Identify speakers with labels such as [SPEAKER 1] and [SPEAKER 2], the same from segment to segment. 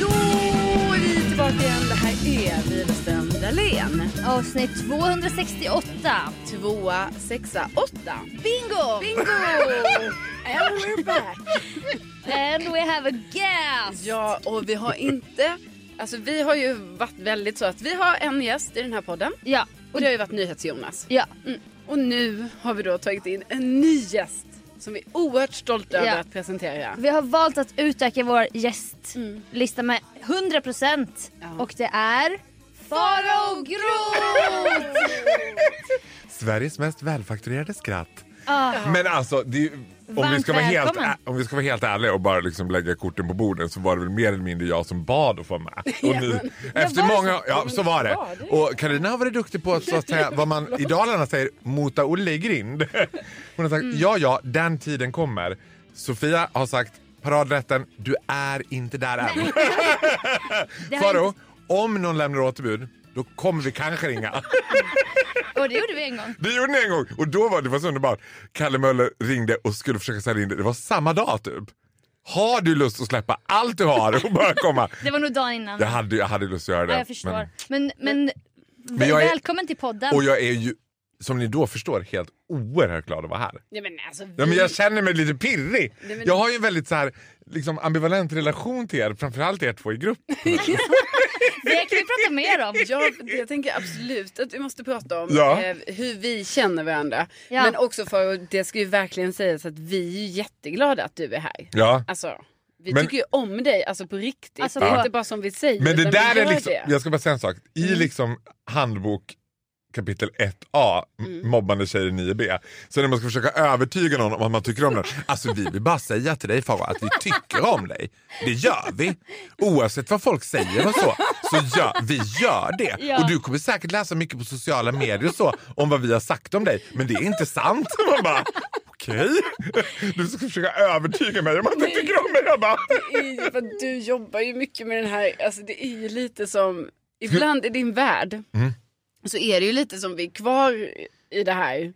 [SPEAKER 1] Då är vi tillbaka igen. Det här är Widerström Dahlén.
[SPEAKER 2] Avsnitt 268.
[SPEAKER 1] Tvåa, sexa, åtta.
[SPEAKER 2] Bingo!
[SPEAKER 1] Bingo! And we're back.
[SPEAKER 2] And we have a guest!
[SPEAKER 1] Ja, och vi har inte... Alltså vi har ju varit väldigt så att vi har en gäst i den här podden.
[SPEAKER 2] Ja.
[SPEAKER 1] Och det har ju varit NyhetsJonas.
[SPEAKER 2] Ja.
[SPEAKER 1] Mm. Och nu har vi då tagit in en ny gäst som vi är oerhört stolta
[SPEAKER 2] Ja.
[SPEAKER 1] över att presentera.
[SPEAKER 2] Vi har valt att utöka vår gästlista med 100%
[SPEAKER 1] Ja.
[SPEAKER 2] och det är Farao Groth!
[SPEAKER 3] Sveriges mest välfakturerade skratt.
[SPEAKER 2] Ah,
[SPEAKER 3] Men alltså, det är, ju- om, vi
[SPEAKER 2] Varmt
[SPEAKER 3] ska vara helt,
[SPEAKER 2] välkommen.
[SPEAKER 3] ä- om vi ska vara helt ärliga och bara liksom lägga korten på borden så var det väl mer eller mindre jag som bad att få med. Och ni, efter
[SPEAKER 1] var det
[SPEAKER 3] många,
[SPEAKER 1] så?
[SPEAKER 3] ja,
[SPEAKER 1] Men
[SPEAKER 3] så var det.
[SPEAKER 1] var det?
[SPEAKER 3] Och Karina har varit duktig på att, så att säga, vad man i Dalarna säger mota Olle i grind. Hon har sagt ja, ja, den tiden kommer. Sofia har sagt paradrätten, du är inte där än.
[SPEAKER 2] det har
[SPEAKER 3] Faro, om någon lämnar återbud, då kommer vi kanske ringa.
[SPEAKER 2] inte- Och det gjorde vi en gång.
[SPEAKER 3] Det gjorde ni en gång och då var det var så underbart. Kalle Möller ringde och skulle försöka sälja in det. Det var samma dag typ. Har du lust att släppa allt du har och bara komma?
[SPEAKER 2] Det var nog dagen innan.
[SPEAKER 3] Jag hade, jag hade lust att göra det.
[SPEAKER 2] ja, jag förstår.
[SPEAKER 3] men-
[SPEAKER 2] Men, men,
[SPEAKER 3] Men jag är-
[SPEAKER 2] välkommen till podden.
[SPEAKER 3] och jag är ju, som ni då förstår, helt oerhört glad att vara här.
[SPEAKER 1] Nej men alltså vi...
[SPEAKER 3] Ja, men jag känner mig lite pirrig.
[SPEAKER 1] Nej, men-
[SPEAKER 3] Jag har ju en väldigt så här, liksom, ambivalent relation till er, framförallt er två i grupp.
[SPEAKER 2] Det kan vi prata mer om.
[SPEAKER 1] Ja, det jag tänker absolut att vi måste prata om
[SPEAKER 3] Ja.
[SPEAKER 1] eh, hur vi känner varandra.
[SPEAKER 2] Ja.
[SPEAKER 1] Men också för att det ska ju verkligen sägas att vi är ju jätteglada att du är här.
[SPEAKER 3] Ja.
[SPEAKER 1] Alltså, vi
[SPEAKER 3] Men-
[SPEAKER 1] tycker ju om dig alltså på riktigt.
[SPEAKER 2] Alltså,
[SPEAKER 1] det är
[SPEAKER 2] på-
[SPEAKER 1] inte bara som vi säger.
[SPEAKER 3] Men det
[SPEAKER 1] utan
[SPEAKER 3] där
[SPEAKER 1] vi
[SPEAKER 3] är
[SPEAKER 1] gör
[SPEAKER 3] liksom,
[SPEAKER 1] det.
[SPEAKER 3] jag ska bara säga en sak. I liksom handbok kapitel 1a, m- mobbande tjejer 9b. Så när man ska försöka övertyga någon om att man tycker om den. Alltså vi vill bara säga till dig Farao att vi tycker om dig. Det gör vi. Oavsett vad folk säger och så, så gör vi gör det.
[SPEAKER 2] Ja.
[SPEAKER 3] Och du kommer säkert läsa mycket på sociala medier och så om vad vi har sagt om dig. Men det är inte sant. Man bara, okej. Du ska försöka övertyga mig om att du tycker om mig. Jag bara,
[SPEAKER 1] Det är ju för att du jobbar ju mycket med den här, alltså det är ju lite som, ibland i din värld
[SPEAKER 3] Mm.
[SPEAKER 1] så är det ju lite som vi är kvar i det här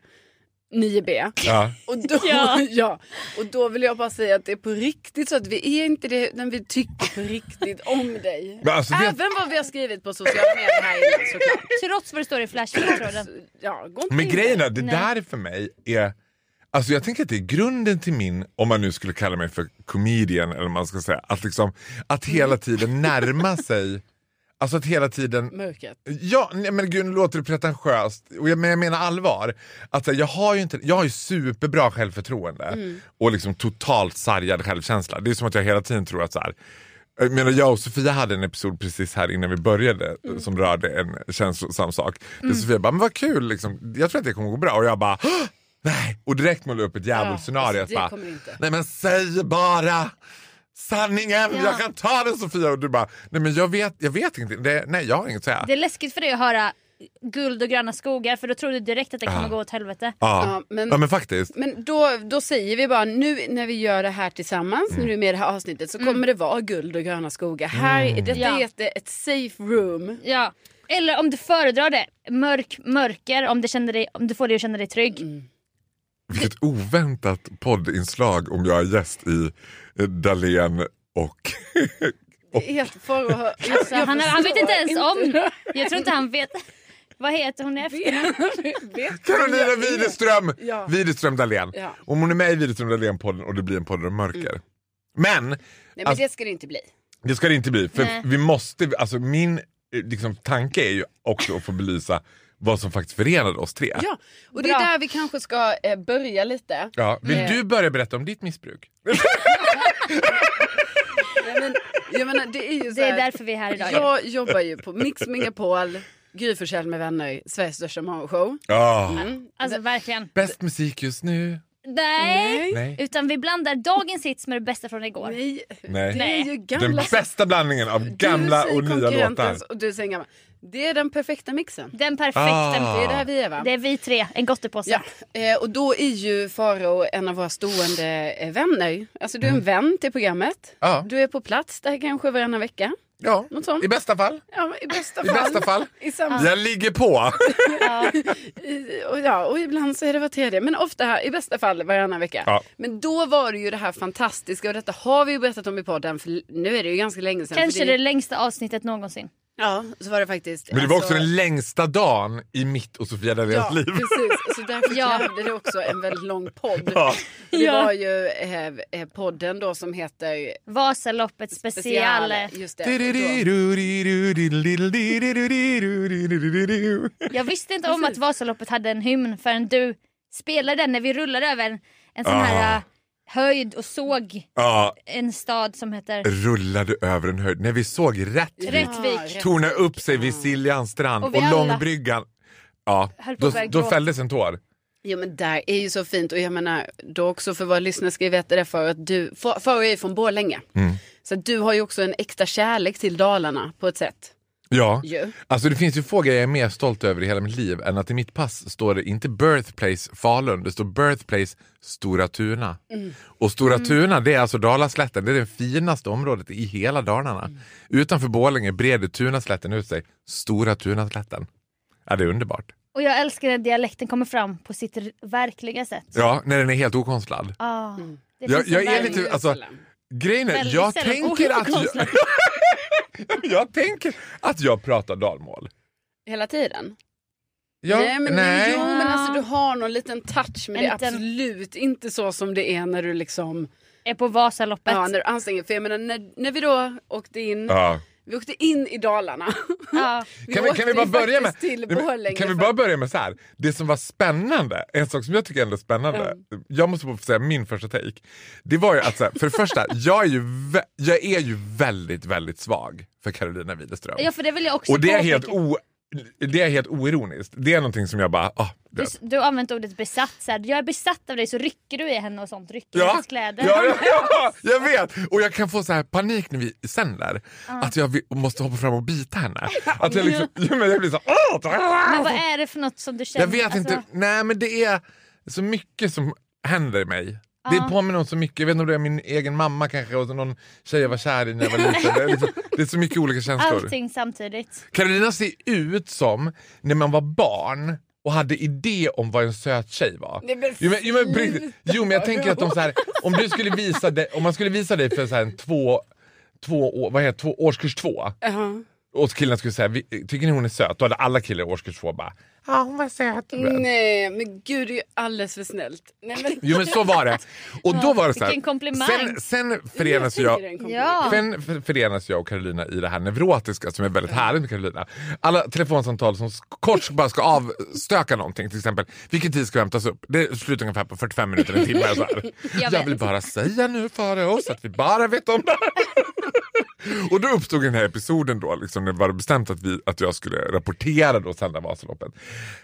[SPEAKER 1] 9B.
[SPEAKER 3] ja.
[SPEAKER 1] Och då, ja.
[SPEAKER 2] Ja.
[SPEAKER 1] och då vill jag bara säga att det är på riktigt så att vi är inte det när vi tycker på riktigt om dig.
[SPEAKER 3] Men alltså, det,
[SPEAKER 1] Även vad vi har skrivit på sociala medier här innan såklart.
[SPEAKER 2] Trots vad det står i flashback-tråden.
[SPEAKER 1] Så, Ja, gå inte
[SPEAKER 3] Men
[SPEAKER 1] in
[SPEAKER 3] grejen
[SPEAKER 1] där.
[SPEAKER 3] är, det där för mig är... Alltså jag tänker att det är grunden till min, om man nu skulle kalla mig för comedian eller vad man ska säga, att, liksom, att hela tiden närma sig, alltså att hela tiden
[SPEAKER 1] Mörkret.
[SPEAKER 3] Ja, nej, men gud nu låter det pretentiöst, och jag, men jag menar allvar. Att, så här, jag, har ju inte, jag har ju superbra självförtroende
[SPEAKER 1] Mm.
[SPEAKER 3] och liksom totalt sargad självkänsla. Det är som att jag hela tiden tror att så här, jag, menar, jag och Sofia hade en episod precis här innan vi började
[SPEAKER 1] Mm.
[SPEAKER 3] som rörde en känslosam sak. Där Sofia bara, men vad kul, liksom, jag tror att det kommer gå bra. Och jag bara, "Hå! nej! Och direkt målade upp ett djävulsscenario.
[SPEAKER 1] Ja,
[SPEAKER 3] att
[SPEAKER 1] alltså, det
[SPEAKER 3] bara,
[SPEAKER 1] kommer inte.
[SPEAKER 3] Nej men säg bara! sanningen, jag kan ta den Sofia. Och du bara, nej men jag vet, jag vet inte, det, nej jag har inget att säga.
[SPEAKER 2] Det är läskigt för dig att höra guld och gröna skogar för då tror du direkt att det kommer gå åt helvete.
[SPEAKER 3] ja.
[SPEAKER 1] Ja, men-
[SPEAKER 3] ja men faktiskt.
[SPEAKER 1] Men då, då säger vi bara nu när vi gör det här tillsammans,
[SPEAKER 2] Mm.
[SPEAKER 1] när du är med i det här avsnittet så kommer det vara guld och gröna skogar. Här, detta
[SPEAKER 2] Ja.
[SPEAKER 1] är ett, ett safe room.
[SPEAKER 2] Ja. Eller om du föredrar det, mörk, mörker om, det känner dig, om du får dig att känna dig trygg.
[SPEAKER 1] Mm.
[SPEAKER 3] Vilket oväntat poddinslag om jag är gäst i eh, Dahlén och...
[SPEAKER 1] Helt för att... hö- Jag,
[SPEAKER 2] Så han, han vet
[SPEAKER 1] förstår
[SPEAKER 2] inte ens om,
[SPEAKER 1] inte.
[SPEAKER 2] jag tror inte han vet. Vad heter hon i efter?
[SPEAKER 1] Vet- vet-
[SPEAKER 3] Carolina
[SPEAKER 1] jag-
[SPEAKER 3] Widerström!
[SPEAKER 1] Ja.
[SPEAKER 3] Widerström Dahlén.
[SPEAKER 1] Ja. Mm.
[SPEAKER 3] Om hon är med i Widerström Dahlén-podden och det blir en podd om mörker. Men
[SPEAKER 1] Nej men
[SPEAKER 3] Alltså-
[SPEAKER 1] det ska det inte bli.
[SPEAKER 3] det ska det inte bli. För
[SPEAKER 2] Nej.
[SPEAKER 3] vi måste, alltså min eh, liksom, tanke är ju också att få belysa vad som faktiskt förenade oss tre.
[SPEAKER 1] Ja, och det är
[SPEAKER 2] Bra.
[SPEAKER 1] där vi kanske ska eh, börja lite.
[SPEAKER 3] Ja, Vill
[SPEAKER 1] Eh.
[SPEAKER 3] du börja berätta om ditt missbruk?
[SPEAKER 1] Nej, men, jag menar, det är ju så
[SPEAKER 2] Det är
[SPEAKER 1] här-
[SPEAKER 2] därför vi är här idag.
[SPEAKER 1] Jag jobbar ju på Mix Megapol, Gry Forssell med vänner, Sveriges största morgonshow.
[SPEAKER 3] Ja.
[SPEAKER 2] Alltså verkligen.
[SPEAKER 3] Bäst musik just nu.
[SPEAKER 2] Nej.
[SPEAKER 3] Nej.
[SPEAKER 2] Utan vi blandar dagens hits med det bästa från igår.
[SPEAKER 1] Nej,
[SPEAKER 3] Nej.
[SPEAKER 1] det är ju gamla
[SPEAKER 3] Den bästa blandningen av gamla
[SPEAKER 1] Du säger
[SPEAKER 3] och nya låtar.
[SPEAKER 1] konkurrentens Och du säger gamla. Det är den perfekta mixen.
[SPEAKER 2] Den perfekta.
[SPEAKER 3] Ah.
[SPEAKER 1] Det är där vi är va?
[SPEAKER 2] Det är vi tre, en gottepåse.
[SPEAKER 1] Ja, eh, och då är ju Faro en av våra stående eh, vänner. Alltså du är en vän till programmet.
[SPEAKER 3] Mm. Ja.
[SPEAKER 1] Du är på plats där kanske varannan vecka.
[SPEAKER 3] Ja,
[SPEAKER 1] Något sånt.
[SPEAKER 3] i bästa fall.
[SPEAKER 1] Ja, i bästa
[SPEAKER 3] I
[SPEAKER 1] fall.
[SPEAKER 3] bästa fall.
[SPEAKER 1] I sam-
[SPEAKER 3] Jag ligger på.
[SPEAKER 1] i- och, ja, och ibland så är det var tredje, men ofta här, i bästa fall varannan vecka.
[SPEAKER 3] Ja.
[SPEAKER 1] Men då var det ju det här fantastiska och detta har vi ju berättat om i podden för nu är det ju ganska länge sedan.
[SPEAKER 2] Kanske
[SPEAKER 1] för
[SPEAKER 2] det längsta avsnittet någonsin.
[SPEAKER 1] Ja, så var det faktiskt.
[SPEAKER 3] Men det var också
[SPEAKER 1] Alltså-
[SPEAKER 3] den längsta dagen i mitt och Sofia Dalléns
[SPEAKER 1] Ja,
[SPEAKER 3] liv.
[SPEAKER 1] precis. Så därför
[SPEAKER 2] Ja.
[SPEAKER 1] krävde det också en väldigt lång podd.
[SPEAKER 3] Ja.
[SPEAKER 1] Det
[SPEAKER 2] Ja.
[SPEAKER 1] var ju eh, eh, podden då som heter
[SPEAKER 2] Vasaloppet special.
[SPEAKER 1] Just det. Och då-
[SPEAKER 3] Du-du-du-du-du-du-du-du-du-du-du-du-du-du.
[SPEAKER 2] Jag visste inte om att Vasaloppet hade en hymn förrän du spelade den när vi rullade över en, en sån här
[SPEAKER 3] Ah.
[SPEAKER 2] eh, höjd och såg
[SPEAKER 3] Ja,
[SPEAKER 2] en stad som heter
[SPEAKER 3] rullade över en höjd. När vi såg Rättvik
[SPEAKER 2] Rättvik.
[SPEAKER 3] torna upp sig vid Siljans strand
[SPEAKER 2] Och
[SPEAKER 3] och,
[SPEAKER 2] vi alla-
[SPEAKER 3] Långbryggan. Ja,
[SPEAKER 2] Höll på
[SPEAKER 3] då,
[SPEAKER 2] att börja
[SPEAKER 3] då
[SPEAKER 2] gråta.
[SPEAKER 3] fälldes en tår.
[SPEAKER 1] Jo men där är ju så fint och jag menar då också för våra lyssnare ska ju veta det för att du, Fa- Farao är ju från Borlänge.
[SPEAKER 3] Mm.
[SPEAKER 1] Så att du har ju också en extra kärlek till Dalarna på ett sätt.
[SPEAKER 3] Ja.
[SPEAKER 1] Ju.
[SPEAKER 3] Alltså det finns ju få grejer jag är mer stolt över i hela mitt liv än att i mitt pass står det inte birthplace Falun, det står birthplace Stora Tuna.
[SPEAKER 1] Mm.
[SPEAKER 3] Och Stora Tuna det är alltså Dalaslätten, det är det finaste området i hela Dalarna.
[SPEAKER 1] Mm.
[SPEAKER 3] Utanför Borlänge breder Tunaslätten ut sig, Stora Tunaslätten. Ja det är underbart.
[SPEAKER 2] Och jag älskar när dialekten kommer fram på sitt r- verkliga sätt.
[SPEAKER 3] Ja, när den är helt okonstlad.
[SPEAKER 2] Ah, det
[SPEAKER 3] Jag,
[SPEAKER 2] finns en
[SPEAKER 3] jag är
[SPEAKER 2] värme.
[SPEAKER 3] lite, alltså, grejen är,
[SPEAKER 2] Väldigt
[SPEAKER 3] jag
[SPEAKER 2] sällan
[SPEAKER 3] tänker, att jag,
[SPEAKER 2] okonstlad.
[SPEAKER 3] jag tänker att jag pratar dalmål.
[SPEAKER 1] Hela tiden?
[SPEAKER 3] Jag,
[SPEAKER 1] nej, men,
[SPEAKER 3] nej.
[SPEAKER 1] Jo, men alltså du har någon liten touch men
[SPEAKER 2] En
[SPEAKER 1] det är
[SPEAKER 2] liten-
[SPEAKER 1] absolut inte så som det är när du liksom
[SPEAKER 2] Är på Vasaloppet.
[SPEAKER 1] Ja, när du anstränger. För jag menar, när, när vi då åkte in,
[SPEAKER 3] Ja.
[SPEAKER 1] vi åkte in i Dalarna.
[SPEAKER 2] Ja.
[SPEAKER 3] Kan vi,
[SPEAKER 1] åkte
[SPEAKER 3] kan vi bara
[SPEAKER 1] ju
[SPEAKER 3] börja med
[SPEAKER 1] faktiskt till
[SPEAKER 3] Nej, men
[SPEAKER 1] Borlänge
[SPEAKER 3] Kan vi
[SPEAKER 1] för-
[SPEAKER 3] bara börja med så här. Det som var spännande, en sak som jag tycker ändå är spännande. Jag måste bara få säga min första take. Det var ju att så här, för det första, jag är ju, vä- jag är ju väldigt, väldigt svag för Carolina Widerström.
[SPEAKER 2] ja, för det vill jag också
[SPEAKER 3] Och det är, helt
[SPEAKER 2] påpeka.
[SPEAKER 3] o, det är helt oironiskt. Det är någonting som jag bara, ah,
[SPEAKER 2] Du,
[SPEAKER 3] det.
[SPEAKER 2] du har använt ordet besatt. Så här, jag är besatt av dig så rycker du i henne och sånt. Rycker i
[SPEAKER 3] Ja,
[SPEAKER 2] hennes
[SPEAKER 3] ja,
[SPEAKER 2] kläder.
[SPEAKER 3] ja, ja, jag vet! Och jag kan få så här panik när vi sänder. Att jag vill, måste hoppa fram och bita henne. Att jag, liksom, ja, men jag blir så här, "Åh!"
[SPEAKER 2] Men vad är det för något som du känner?
[SPEAKER 3] Jag vet inte.
[SPEAKER 1] alltså-
[SPEAKER 3] Nej, men det är så mycket som händer i mig. Det påminner om så mycket. Jag vet inte om det är min egen mamma kanske och så någon tjej jag var kär i när jag var liten. Det är, liksom, det är så mycket olika känslor.
[SPEAKER 2] Alltså, Allting samtidigt.
[SPEAKER 3] Carolina ser ut som när man var barn och hade idé om vad en söt tjej var.
[SPEAKER 1] Nej, men
[SPEAKER 3] jo, men, jo, men, på riktigt. jo men jag tänker att de så här, om, du skulle visa dig, om man skulle visa dig för så här en två, två, år- vad heter, två, årskurs två
[SPEAKER 1] Jaha.
[SPEAKER 3] och killen skulle säga "Vi- tycker ni hon är söt? Då hade alla killar i årskurs två bara ja hon var söt.
[SPEAKER 1] Mm, Nej, men gud det är ju alldeles för snällt. Nej, men...
[SPEAKER 3] Jo men så var det. Och då var det så här,
[SPEAKER 2] vilken komplimang.
[SPEAKER 3] Sen, sen
[SPEAKER 1] Jag
[SPEAKER 3] förenas
[SPEAKER 1] tänker
[SPEAKER 3] jag
[SPEAKER 1] det är en komplimang.
[SPEAKER 2] Ja.
[SPEAKER 3] Sen f- förenas jag och Carolina i det här neurotiska som är väldigt härligt med Carolina. Alla telefonsamtal som sk- kort bara ska avstöka någonting, till exempel vilken tid ska vi hämtas upp? Det slutar ungefär på 45 minuter, en timme. Så här.
[SPEAKER 2] Jag
[SPEAKER 3] Jag,
[SPEAKER 2] vet.
[SPEAKER 3] vill bara säga nu för oss att vi bara vet om det här. Och då uppstod den här episoden då, liksom, när det var bestämt att, vi, att jag skulle rapportera då sända Vasaloppet.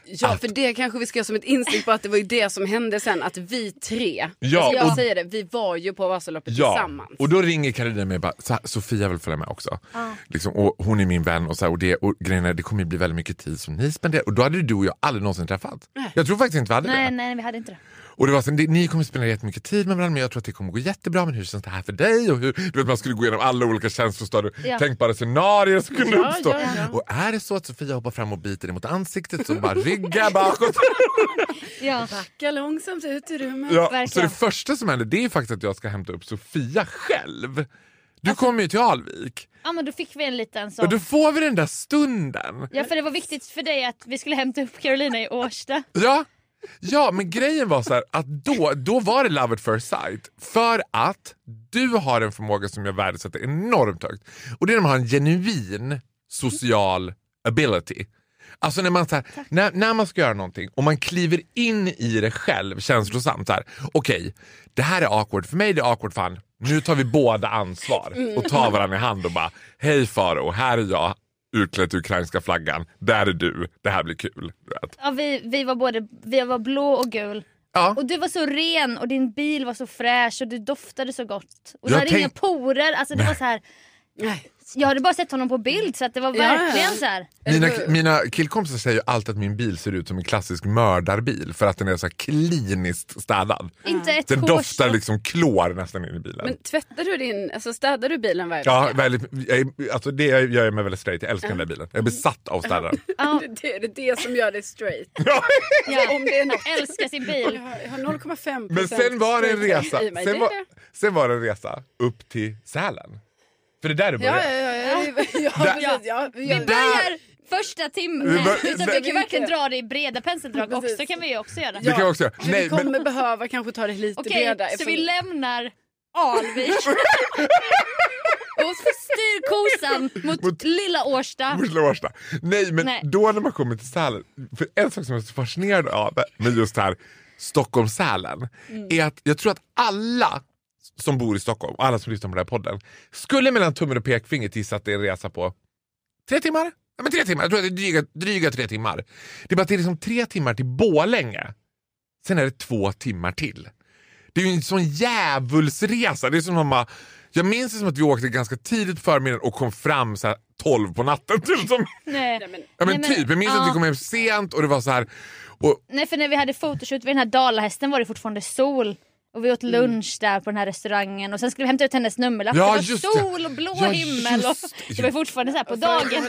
[SPEAKER 1] Ja, för det kanske vi ska göra som ett instick på att det var ju det som hände sen. Att vi tre,
[SPEAKER 3] Ja,
[SPEAKER 1] alltså jag
[SPEAKER 3] och-
[SPEAKER 1] säger det, vi var ju på Vasaloppet tillsammans.
[SPEAKER 3] och då ringer Karolina mig och bara, "Så här, Sofia vill följa med också. Liksom, och hon är min vän och, så här, och, det, och grejen är, det kommer ju bli väldigt mycket tid som ni spenderar. Och då hade du och jag aldrig någonsin träffat. Jag tror faktiskt inte vi hade
[SPEAKER 2] Nej,
[SPEAKER 3] det.
[SPEAKER 2] nej, vi hade inte det.
[SPEAKER 3] Och det var så, "Ni- ni kommer spendera jättemycket tid med varandra men jag tror att det kommer gå jättebra. Men hur känns det här för dig? Och hur, du vet, man skulle gå igenom alla olika känslostadier,
[SPEAKER 2] Ja.
[SPEAKER 3] tänkbara scenarier som kunde
[SPEAKER 1] Ja,
[SPEAKER 3] uppstå.
[SPEAKER 1] ja, ja.
[SPEAKER 3] Och är det så att Sofia hoppar fram och biter dig mot ansiktet så bara rygga bakåt.
[SPEAKER 2] Ja.
[SPEAKER 1] Backa långsamt ut ur rummet.
[SPEAKER 3] Ja,
[SPEAKER 2] Verkligen.
[SPEAKER 3] så det första som händer det är faktiskt att jag ska hämta upp Sofia själv. Du kommer ju till Alvik.
[SPEAKER 2] ja, men då fick vi en liten
[SPEAKER 3] Och
[SPEAKER 2] sån.
[SPEAKER 3] då får vi den där stunden.
[SPEAKER 2] Ja, för det var viktigt för dig att vi skulle hämta upp Carolina i Årsta.
[SPEAKER 3] Ja, ja men grejen var så här att då, då var det love at first sight. För att du har en förmåga som jag värdesätter enormt högt. Och det är när man har en genuin social ability. Alltså när man, så här, när, när man ska göra någonting och man kliver in i det själv känslosamt. så här, Okej, det här är awkward för mig, det är awkward för han. Nu tar vi båda ansvar och tar varandra i hand och bara Hej Faro, här är jag utklädd till ukrainska flaggan. Där är du, det här blir kul. Du vet.
[SPEAKER 2] Ja, vi, vi var både vi var blå och gul.
[SPEAKER 3] Ja.
[SPEAKER 2] Och du var så ren och din bil var så fräsch och du doftade så gott. Och du
[SPEAKER 3] Jag
[SPEAKER 2] hade
[SPEAKER 3] tänk-
[SPEAKER 2] inga porer. Alltså, det var så här,
[SPEAKER 1] Nej.
[SPEAKER 2] jag hade bara sett honom på bild så att det var
[SPEAKER 1] Ja, ja.
[SPEAKER 2] verkligen så här.
[SPEAKER 3] Mina, mina killkompisar säger ju alltid att min bil ser ut som en klassisk mördarbil för att den är så här kliniskt städad.
[SPEAKER 2] Inte ett
[SPEAKER 3] Den
[SPEAKER 2] hårstrå.
[SPEAKER 3] doftar liksom klor nästan in i bilen.
[SPEAKER 1] Men tvättar du din, alltså städar du bilen varje
[SPEAKER 3] ja,
[SPEAKER 1] vecka?
[SPEAKER 3] väldigt, jag, är- alltså det gör jag mig väldigt straight. Jag älskar den där bilen. Jag är besatt av att städa den.
[SPEAKER 2] Ja.
[SPEAKER 1] Det är det, det som gör dig straight. Alltså,
[SPEAKER 3] Ja.
[SPEAKER 2] Ja.
[SPEAKER 1] Om det är något.
[SPEAKER 2] Han älskar sin
[SPEAKER 1] Jag
[SPEAKER 2] bil.
[SPEAKER 1] har jag har 0,5
[SPEAKER 3] Men sen var det en
[SPEAKER 1] straight
[SPEAKER 3] resa.
[SPEAKER 1] i mig.
[SPEAKER 3] Sen
[SPEAKER 1] Det
[SPEAKER 3] var,
[SPEAKER 1] är det.
[SPEAKER 3] sen var det en resa upp till Sälen. För det är där det
[SPEAKER 1] Ja, ja,
[SPEAKER 3] börjar.
[SPEAKER 1] ja. ja, ja,
[SPEAKER 3] Där-
[SPEAKER 1] precis, ja, ja.
[SPEAKER 3] Där-
[SPEAKER 2] Börjar första timmen.
[SPEAKER 3] Vi bör-
[SPEAKER 2] Utan
[SPEAKER 3] där-
[SPEAKER 2] vi kan verkligen dra det i breda penseldrag
[SPEAKER 1] Precis.
[SPEAKER 2] också. kan vi ju också göra.
[SPEAKER 3] Det kan jag också göra.
[SPEAKER 1] Men vi
[SPEAKER 3] Nej,
[SPEAKER 1] kommer
[SPEAKER 3] men,
[SPEAKER 1] behöva kanske ta det lite
[SPEAKER 2] Okej,
[SPEAKER 1] bredare.
[SPEAKER 2] så
[SPEAKER 1] eftersom-
[SPEAKER 2] vi lämnar Alvik. och så styr kosan mot,
[SPEAKER 3] Mot-
[SPEAKER 2] lilla Årsta.
[SPEAKER 3] Mot Lårsta. Nej, men
[SPEAKER 2] Nej.
[SPEAKER 3] då när man kommer till Sälen. För en sak som jag är så fascinerad av med just det här Stockholm-Sälen är att jag tror att alla som bor i Stockholm och alla som lyssnar på den här podden skulle mellan tummen och pekfingret gissa att det är en resa på tre timmar. Ja, men tre timmar. Jag tror att det är dryga, dryga tre timmar. Det är bara att det är liksom tre timmar till Borlänge. Sen är det två timmar till. Det är ju en sån djävulsresa. Det är som om man, jag minns det som att vi åkte ganska tidigt på förmiddagen och kom fram så här 12 på natten. Typ som,
[SPEAKER 2] Nej.
[SPEAKER 3] ja, men
[SPEAKER 2] Nej, men-
[SPEAKER 3] typ. Jag minns att vi
[SPEAKER 2] ja.
[SPEAKER 3] kom hem sent och det var så här... Och,
[SPEAKER 2] Nej för när vi hade fotoshoot vid den här dalahästen var det fortfarande sol. Och vi åt lunch där på den här restaurangen och sen skulle vi hämta ut hennes nummerlapp.
[SPEAKER 3] Mm. Ja,
[SPEAKER 2] det var
[SPEAKER 3] just det.
[SPEAKER 2] sol och blå
[SPEAKER 3] Ja,
[SPEAKER 2] himmel och
[SPEAKER 3] just det. Alltså,
[SPEAKER 2] det var ju fortfarande så här på dagen.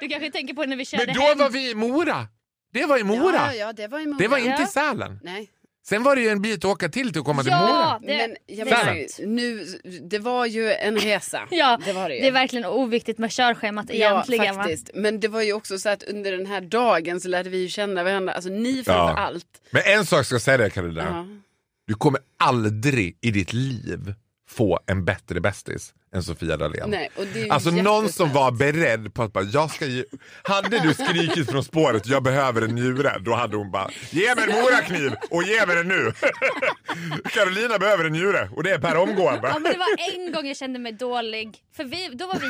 [SPEAKER 2] Du kanske tänker på när vi körde
[SPEAKER 3] men då
[SPEAKER 2] hem.
[SPEAKER 3] var vi i Mora! Det var i Mora!
[SPEAKER 1] Ja, ja, det var i Mora.
[SPEAKER 3] Det var inte
[SPEAKER 2] Ja.
[SPEAKER 3] i Sälen.
[SPEAKER 1] Nej.
[SPEAKER 3] Sen var det ju en bit att åka till till att komma till Mora.
[SPEAKER 2] Ja, det,
[SPEAKER 1] Men jag
[SPEAKER 3] Sant.
[SPEAKER 1] menar, ju, nu, det var ju en resa.
[SPEAKER 2] ja,
[SPEAKER 1] det var det ju.
[SPEAKER 2] är verkligen oviktigt med körschemat egentligen.
[SPEAKER 1] ja,
[SPEAKER 2] va?
[SPEAKER 1] faktiskt. Men det var ju också så att under den här dagen så lärde vi ju känna varandra. Alltså ni framför
[SPEAKER 3] Ja.
[SPEAKER 1] allt.
[SPEAKER 3] Men en sak ska jag säga dig Carolina.
[SPEAKER 1] Ja.
[SPEAKER 3] Du kommer aldrig i ditt liv få en bättre bästis än Sofia Dalén.
[SPEAKER 1] Nej, och det är ju
[SPEAKER 3] Alltså någon som
[SPEAKER 1] jättesnällt.
[SPEAKER 3] var beredd på att bara, jag ska ge... Hade du skrikit från spåret, jag behöver en njure, då hade hon bara, ge mig en morakniv och ge mig den nu. Carolina behöver en njure och det är per
[SPEAKER 2] Ja,
[SPEAKER 3] omgående.
[SPEAKER 2] men det var en gång jag kände mig dålig. För vi, då var vi...